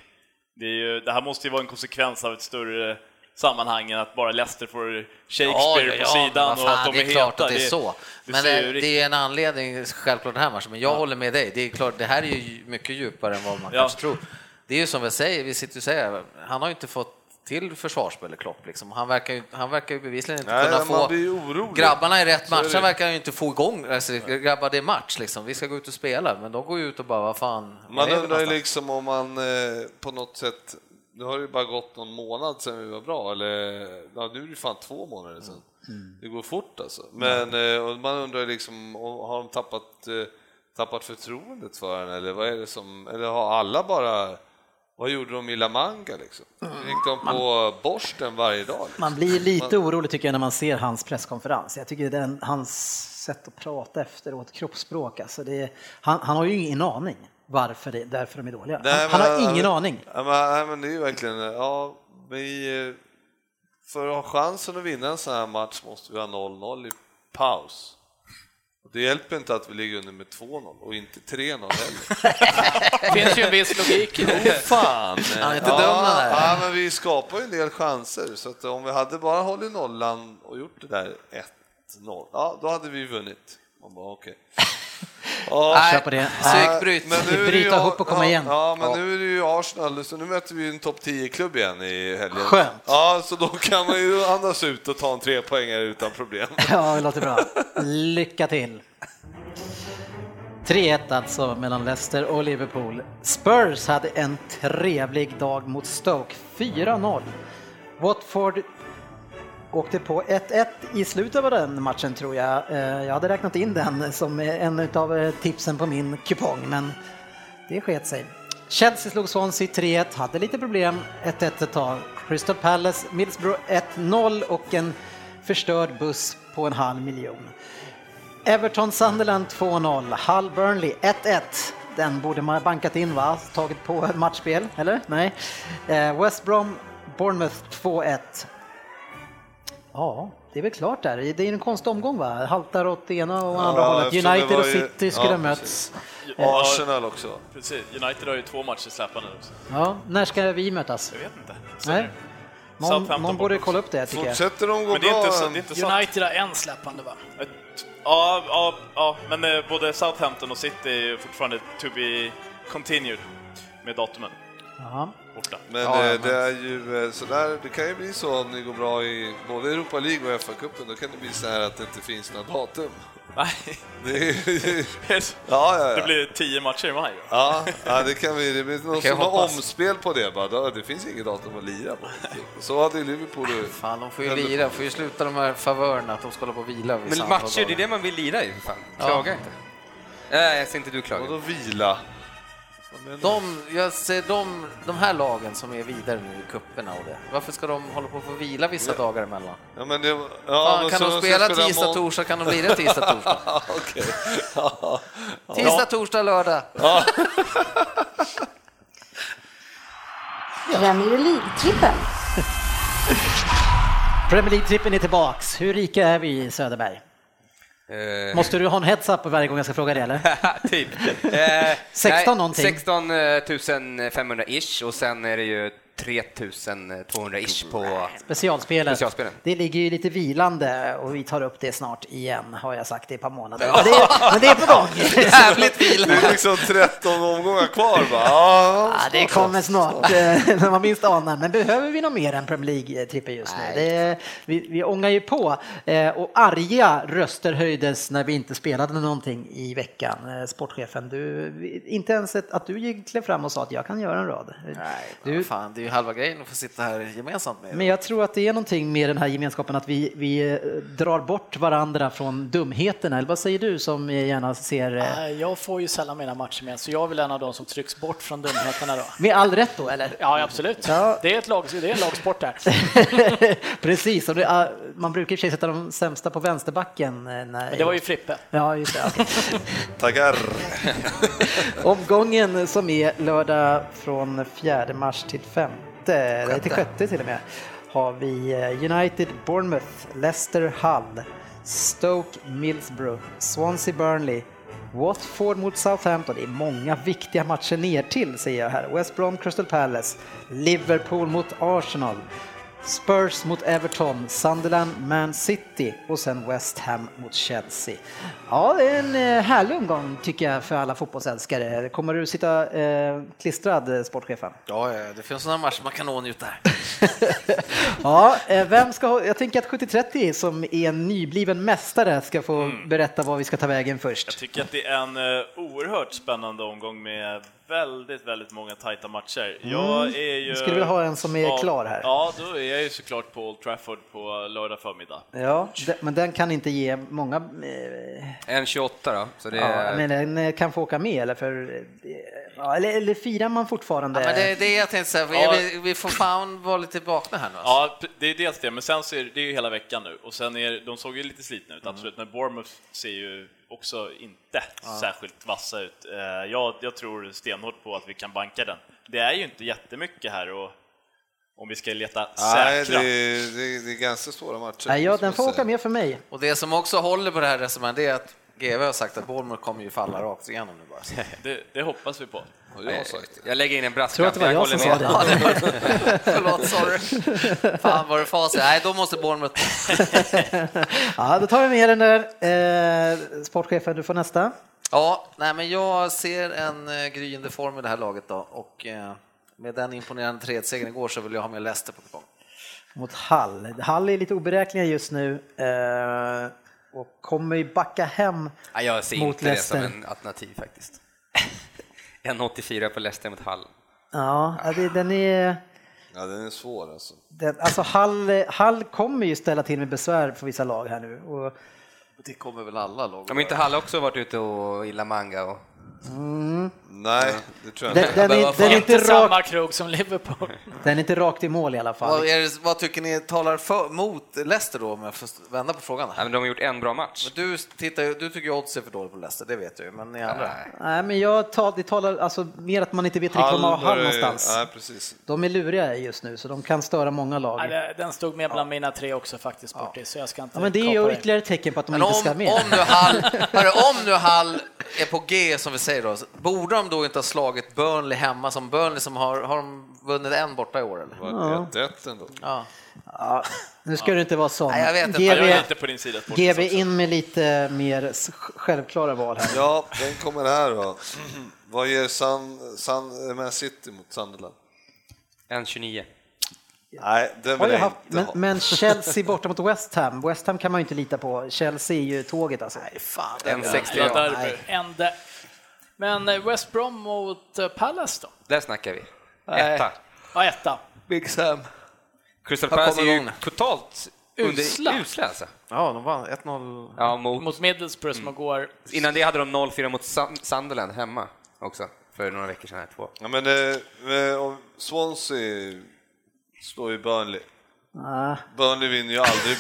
S5: Det, är ju, det här måste ju vara en konsekvens av ett större sammanhang än att bara Leicester får Shakespeare på
S3: men
S5: sidan
S3: vad fan,
S5: och att de
S3: det
S5: är,
S3: är klart
S5: heta.
S3: att det är så.
S5: det
S3: men
S5: ser
S3: eh,
S5: ju riktigt-
S3: det är en anledning, självklart den här matchen, men jag håller med dig. Det är klart, det här är ju mycket djupare än vad man
S5: Ja.
S3: kanske tror. Det är ju som vi säger, vi sitter och säger, han har ju inte fått till försvarsspel i Klopp liksom. Han verkar ju, han verkar ju bevisligen inte
S6: Nej,
S3: kunna
S6: man
S3: få...
S6: blir ju orolig.
S3: Grabbarna i rätt
S6: Så är
S3: match,
S6: det.
S3: han verkar ju inte få igång, alltså, grabbar det är match liksom. Vi ska gå ut och spela, men de går ju ut och bara, vad fan, vad
S6: Man
S3: är vi
S6: undrar ju
S3: någonstans?
S6: liksom om man eh, på något sätt, nu har det ju bara gått någon månad sedan vi var bra, eller ja, nu är det ju fan två månader sedan.
S3: Mm.
S6: Det går fort alltså. Men eh, och man undrar ju liksom, om- har de tappat, eh, tappat förtroendet för den eller vad är det som, eller har alla bara, vad gjorde de i La Manga liksom?
S3: Mm.
S6: Gick de på borsten varje dag? Liksom?
S2: Man blir lite orolig tycker jag när man ser hans presskonferens. Jag tycker den, hans sätt att prata efteråt, kroppsspråk, alltså det, är- han, han har ju ingen aning varför det, därför de är dåliga.
S6: Nej,
S2: han, han
S6: men-
S2: har ingen
S6: men-
S2: aning.
S6: Ja, men, nej, men det är ju verkligen, ja, vi, eh, för att ha chansen att vinna en sån här match måste vi ha 0-0 i paus. Och Det hjälper inte att vi ligger under med 2-0 och inte 3-0 heller.
S4: Det finns ju en viss logik i det.
S6: Fan!
S3: Han är inte dum den
S6: ja,
S3: här.
S6: ja, men vi skapar ju en del chanser, så att om vi hade bara hållit nollan och gjort det där 1-0, ja, då hade vi vunnit. Man bara, okej. Ja,
S2: Kör på det.
S3: så
S2: Nej,
S3: gick bryt.
S6: men nu är det
S2: Bryta
S6: ju-
S2: ihop och komma
S6: ja,
S2: igen.
S6: Ja, men nu är det ju Arsenal, så nu möter vi ju en topp 10-klubb igen i helgen.
S2: Skönt.
S6: Ja, så då kan man ju andas ut och ta en trepoängare utan problem.
S2: Ja, det låter bra. Lycka till! 3-1 alltså mellan Leicester och Liverpool. Spurs hade en trevlig dag mot Stoke. 4-0. Watford åkte på 1-1 i slutet av den matchen tror jag. Eh, Jag hade räknat in den som en av tipsen på min kupong, men det sket sig. Chelsea slog Swansea 3-1, hade lite problem 1-1 ett tag. Crystal Palace, Middlesbrough 1-0 och en förstörd buss på en halv miljon. Everton Sunderland 2-0, Hull Burnley 1-1. Den borde man ha bankat in va? Tagit på ett matchspel, eller? Nej. Eh, West Brom, Bournemouth 2-1. Ja, det är väl klart där. Det är ju en konstig omgång va? Haltar åt det ena och andra
S6: Ja,
S2: hållet.
S6: eftersom det
S2: United och
S6: var ju-
S2: City skulle
S6: ja,
S2: ha mötts.
S6: precis. Arsenal också.
S5: Precis, United har ju två matcher släpande också.
S2: Ja, när ska vi mötas?
S5: Jag vet inte. Så
S2: Nej. Någon,
S5: Southampton
S2: någon borde
S5: borta.
S2: kolla upp det tycker jag.
S6: Fortsätter de gå
S5: Men det är
S6: bra?
S5: inte, så, det är inte sant.
S4: United har en släpande va?
S5: Ett- Ja, ja, ja, men eh, både Southampton och City är ju fortfarande to be continued med datumen
S2: Jaha.
S5: borta.
S6: Men
S7: Ja,
S6: eh,
S7: men-
S6: det är ju eh, sådär, det kan ju bli så om ni går bra i både Europa League och FA-cupen, då kan det bli så här att det inte finns några datum.
S5: Nej,
S6: Det är, ja, ja,
S5: det
S6: ja.
S5: blir tio matcher i maj. då.
S6: Ja, ja, det kan vi. Det blir någon
S7: kan jag
S6: som har
S7: hoppas.
S6: omspel på det bara. då- Det finns inget datum att lira på. Så hade ju Liverpool...
S3: Fan, de får ju lira, de får ju sluta de här favörerna att de ska hålla på och vila. vid
S7: Men
S3: samtal
S7: matcher, det är
S3: dagar.
S7: det man vill lira i för fan. Klaga inte. Nej, jag ser inte du klaga.
S6: Vadå vila?
S3: De, jag ser de, de här lagen som är vidare nu i cuperna och det. Varför ska de hålla på och få vila vissa dagar emellan?
S6: Ja, men det, ja,
S3: Fan,
S6: men
S3: kan
S6: så
S3: de
S6: ska
S3: spela
S6: spela
S3: tisdag,
S6: mån-
S3: torsdag kan de lira tisdag, torsdag.
S6: Okej. Ja,
S3: Tisdag, torsdag, lördag.
S8: Premier League-trippen.
S2: Premier League-trippen är tillbaks. Hur rika är vi Söderberg?
S7: Eh,
S2: Måste du ha en heads-up varje gång jag ska fråga det eller?
S7: typ. Eh,
S2: 16
S7: nej,
S2: någonting.
S7: 16 500-ish och sen är det ju 3200-ish på...
S2: Specialspelet.
S7: Specialspelen.
S2: Det ligger ju lite vilande och vi tar upp det snart igen, har jag sagt i ett par månader. Men det är, men det är på gång.
S7: Jävligt
S6: det är liksom 13 omgångar kvar bara. Ja,
S2: Ja, det kommer snart, eh, när man minst anar. Men behöver vi något mer än Premier League-trippen just nu? Det, vi, vi ångar ju på. Eh, Och arga röster höjdes när vi inte spelade någonting i veckan. Eh, Sportchefen, du, vi- inte ens ett, att du gick klev fram och sa att jag kan göra en rad.
S3: Du, fan, det är ju halva grejen att få sitta här gemensamt med er.
S2: Men jag tror att det är någonting med den här gemenskapen att vi, vi eh, drar bort varandra från dumheterna. Eller vad säger du som gärna ser, eh,
S4: Nej, Jag får ju sällan mina matcher med, så jag är väl en av de som trycks bort från dumheterna då.
S2: med all rätt då eller?
S4: Ja, absolut.
S2: Ja.
S4: Det, är ett lag, det är en lagsport där.
S2: Precis, och det, är- man brukar i och för sig sätta de sämsta på vänsterbacken. eh, När,
S4: Men det var ju Frippe.
S2: Ja, just det. okej.
S6: Tackar.
S2: Omgången som är lördag från 4 mars till 5, nej till 6 till och med, har vi eh, United Bournemouth, Leicester Hull, Stoke Middlesbrough, Swansea Burnley, Watford mot Southampton. Det är många viktiga matcher ner till säger jag här. West Brom Crystal Palace, Liverpool mot Arsenal, Spurs mot Everton, Sunderland, Man City och sen West Ham mot Chelsea. Ja, det är en eh, härlig omgång tycker jag för alla fotbollsälskare. Kommer du sitta eh, klistrad, eh, sportchefen?
S3: Ja, ja, det finns sådana matcher man kan åtnjuta. här.
S2: Ja, eh, vem ska, ha- jag tänker att 7030 som är en nybliven mästare ska få
S3: Mm.
S2: berätta vad vi ska ta vägen
S5: Jag
S2: först.
S5: tycker att det är en eh, oerhört spännande omgång med väldigt, väldigt många tajta matcher. Jag är ju...
S2: Mm. Skulle vilja ha en som är
S5: ja,
S2: klar här.
S5: Ja, då är jag ju såklart på Old Trafford på lördag förmiddag.
S2: Ja, de- men den kan inte ge många... eh,
S7: En 28 då. Så det
S2: Ja,
S7: är,
S2: men den eh, kan få åka med eller? För, eh, ja, eller, eller firar man fortfarande?
S3: Ja, men det, det är jag tänkte säga, vi,
S5: Ja.
S3: vi, vi får fan vara lite vakna här nu. Alltså.
S5: Ja, p- det är dels det, men sen så är det, det är ju hela veckan nu och sen är de såg ju lite slitna
S7: Mm.
S5: ut, absolut, men Bournemouth ser ju också inte särskilt vassa ut. Eh, Jag, jag tror stenhårt på att vi kan banka den. Det är ju inte jättemycket här och om vi ska leta
S6: Nej, det,
S5: säkra.
S6: är- det, är- det är ganska svåra matcher.
S2: Nej, ja,
S6: måste
S2: den
S6: jag
S2: får åka
S6: säga.
S2: med för mig.
S3: Och det som också håller på det här resonemanget det är att GW har sagt att Bournemouth kommer ju falla rakt igenom nu bara.
S5: Det, det hoppas vi på.
S6: Har jag sagt det?
S7: jag lägger in en
S2: Tror att
S7: brasklapp.
S2: det var jag
S7: håller
S2: som sa det.
S7: med.
S3: Förlåt, sorry. Fan var det facit? Nej, då måste Bournemouth...
S2: Ja, då tar vi med den där. Eh, sportchefen, du får nästa.
S3: Ja, nej men jag ser en eh, gryende form i det här laget då och eh, med den imponerande 3-1-segern igår så vill jag ha med Leicester på kupong.
S2: Mot Hall. Hall är lite oberäkneliga just nu eh, och kommer ju backa hem.
S7: Nej, jag ser
S2: Mot
S7: inte det som
S2: Leicester.
S7: en alternativ faktiskt. 1,84 på Leicester mot Hall.
S2: Ja, ja, det, den är...
S6: Ja, den är svår alltså.
S2: Den, alltså Hall, Hall kommer ju ställa till med besvär för vissa lag här nu. Och,
S3: Det kommer väl alla lag
S7: Om inte Hall också varit ute och illa manga och...
S6: Nej, det tror jag
S2: Den,
S6: inte.
S2: den,
S3: Men
S2: är,
S3: vad fan.
S2: den, är inte
S4: Inte
S2: rak,
S4: samma krog som Liverpool.
S2: den är inte rakt i mål i alla fall.
S3: Vad, är det, vad tycker ni talar för, mot Leicester då, om jag får vända på frågan?
S7: Nej,
S3: Här?
S7: men de har gjort en bra match.
S3: Du, tittar, ju- du tycker ju odds är för dåligt på Leicester, det vet jag ju, men ni andra?
S2: Nej, men jag tar, det talar alltså mer att man inte vet riktigt var man har
S6: börjar
S2: hand
S6: ju-
S2: någonstans.
S6: Nej, precis.
S2: De är luriga just nu, så de kan störa många
S4: Nej,
S2: lag.
S4: det- Den stod med bland mina tre också faktiskt, Sportis, så jag ska inte
S2: Ja, men det är
S4: kapa
S2: ju
S4: det.
S2: ytterligare ett tecken på att de
S3: Men
S2: inte
S3: om,
S2: ska med.
S3: om, nu Hall, hörru, om nu Hall är på G som vi säger då, så borde de då inte ha slagit Burnley hemma som Burnley som har, har de vunnit en borta i år eller?
S6: Det var ett rätt ändå.
S3: Ja.
S2: Nu ska du inte vara sån.
S3: Nej, jag vet inte.
S2: GB,
S5: Jag är lite på din sida. Sportis,
S2: GB
S5: också.
S2: in med lite mer s- självklara val här.
S6: Ja, den kommer här då. Vad ger Sun, Sun, Man City mot Sunderland?
S7: 1.29.
S6: Nej, den
S2: Har
S6: vill
S2: jag
S6: jag
S2: haft,
S6: inte
S2: men,
S6: ha.
S2: men Chelsea borta mot West Ham. West Ham kan man ju inte lita på. Chelsea är ju tåget alltså.
S3: Fan, det är-
S7: 1.60.
S5: Ja,
S7: Ja.
S5: derby.
S4: Ände. Men eh, West Brom mot eh, Palace då?
S7: Där snackar vi.
S3: Nej.
S7: Etta.
S4: Ja, etta.
S3: Big Sam.
S7: Crystal
S3: Här
S7: Palace är
S3: kommer
S7: ju
S3: de.
S7: totalt under,
S4: Usla.
S7: usla alltså.
S3: Ja, de vann 1-0.
S7: Ja, mot,
S4: Mot Middlesbrough som går...
S7: innan det hade de 0-4 mot Sun- Sunderland hemma också för några veckor sedan. Här, två.
S6: Ja, men, eh, eh, om Swansea slår ju Burnley.
S2: Ah,
S6: Burnley vinner ju aldrig.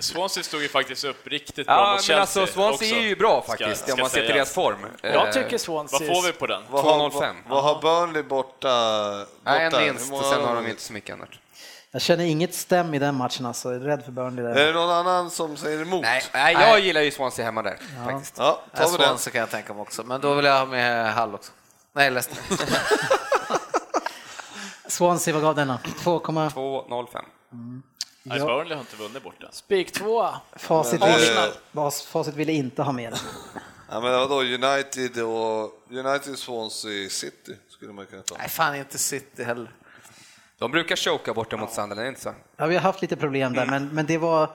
S5: Swansea stod ju faktiskt upp riktigt bra
S7: Ja,
S5: mot Chelsea
S7: men alltså Swansea
S5: också.
S7: är ju bra
S5: Ska-
S7: faktiskt
S5: ska
S7: om man ser till
S5: sägas.
S7: deras form. Eh,
S4: Jag tycker Swansea...
S5: Vad får vi på den?
S6: Vad har,
S7: 2,05.
S6: vad har Burnley borta?
S7: Nej, en
S6: borta?
S7: vinst
S6: Hur många
S7: och sen har de
S6: vunnit?
S7: inte så mycket annat.
S2: jag känner inget stäm i den matchen alltså. Jag är rädd för Burnley
S6: Är det
S2: där.
S6: någon annan som säger emot?
S7: Nej, nej, jag gillar ju Swansea hemma där faktiskt.
S6: Ja,
S3: Ja,
S6: tar vi den.
S3: Swansea kan jag tänka mig också, men då vill jag ha med Hall också. Nej, Leicester.
S2: Swansea, vad gav denna? 2,
S7: 2.05.
S5: Nej,
S2: Ja.
S5: Burnley har inte vunnit borta.
S4: Spik tvåa.
S2: facit,
S6: Men,
S2: ville,
S6: eh,
S2: bas- facit ville inte ha med den.
S6: Ja, men vadå, United och United Swansea City skulle man kunna ta.
S3: Nej, fan inte City heller.
S7: De brukar choka borta mot Sunderland, är det inte så?
S2: Ja, vi har haft lite problem där, men, men det var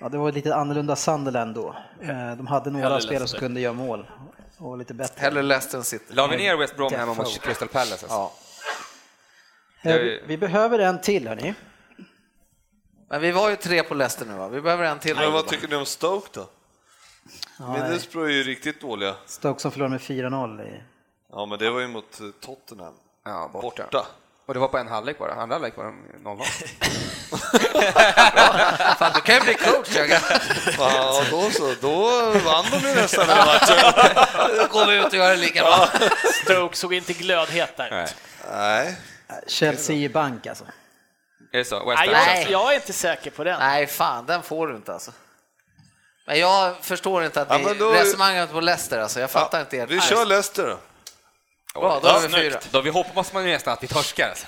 S2: ja, det var lite annorlunda Sunderland då. Eh, De hade några spelare
S5: Hellre
S2: som
S5: Leicester.
S2: kunde göra mål och lite bättre.
S3: Hellre Leicester än City.
S7: La vi ner West Brom hemma
S2: Defo.
S7: mot Crystal Palace alltså.
S3: Ja.
S2: Eh, vi- Vi behöver en till, hörni.
S3: Men vi var ju tre på Leicester nu va? Vi behöver en till.
S6: Men vad tycker ni om Stoke då? Middlesbrough är ju riktigt dåliga.
S2: Stoke som förlorade med 4-0. i-
S6: Ja, men det var ju mot eh, Tottenham.
S7: Ja, borta.
S6: Borta.
S7: Och det var på en halvlek bara, andra halvlek var de 0-0.
S3: Fan, du kan ju bli coach Jörgen.
S6: Ja, då så. Då vann de ju nästan den matchen.
S3: Då går vi ut och gör det lika bra.
S4: Stoke såg inte glödhet där. Nej,
S6: Nej.
S2: Chelsea i bank alltså.
S7: Är det så? West Ham?
S4: jag, jag är inte säker på den.
S3: Nej, fan, den får du inte alltså. Men jag förstår inte att
S6: Ja,
S3: ni,
S6: men då-
S3: resonemanget på Leicester alltså. Jag fattar inte helt.
S6: Vi kör Leicester då.
S3: Bra, då har vi
S5: Snyggt.
S3: fyra.
S7: Då vi hoppas man ju nästan att vi torskar alltså.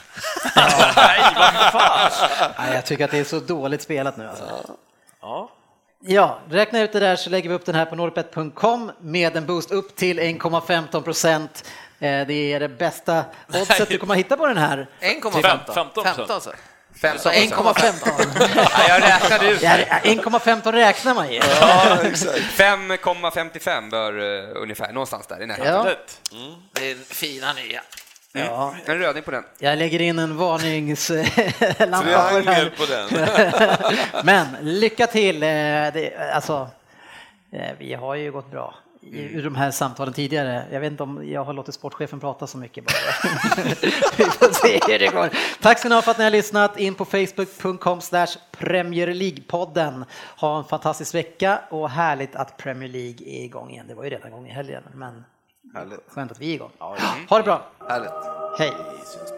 S2: Nej, jag tycker att det är så dåligt spelat nu alltså. Ja. Ja, räkna ut det där så lägger vi upp den här på nordbet.com med en boost upp till 1,15 procent. Eh, Det är det bästa oddset du kommer hitta på den här.
S3: 1,15.
S5: 15.
S3: 15 alltså. Så
S7: 15
S3: 1,15.
S7: Ja, jag räknade ut.
S2: Ja, 1,15 räknar man ju.
S6: Ja, exakt.
S7: 5,55 bör eh, ungefär, någonstans där i närheten.
S2: Ja.
S5: Lätt.
S3: Det är fina nya.
S2: Ja,
S7: En röding på den.
S2: jag lägger in en varningslampa på den
S6: Triangel
S2: här.
S6: på den.
S2: Men lycka till! eh, Det, alltså, eh, vi har ju gått bra i ur de här samtalen tidigare. Jag vet inte om jag har låtit sportchefen prata så mycket bara. vi får se hur det går. Tack ska ni ha för att ni har lyssnat. In på facebook.com slash Premier League-podden. Ha en fantastisk vecka och härligt att Premier League är igång igen. Det var ju redan igång i helgen, men skönt att vi är igång. Ha det bra!
S3: Härligt.
S2: Hej!
S3: Vi syns på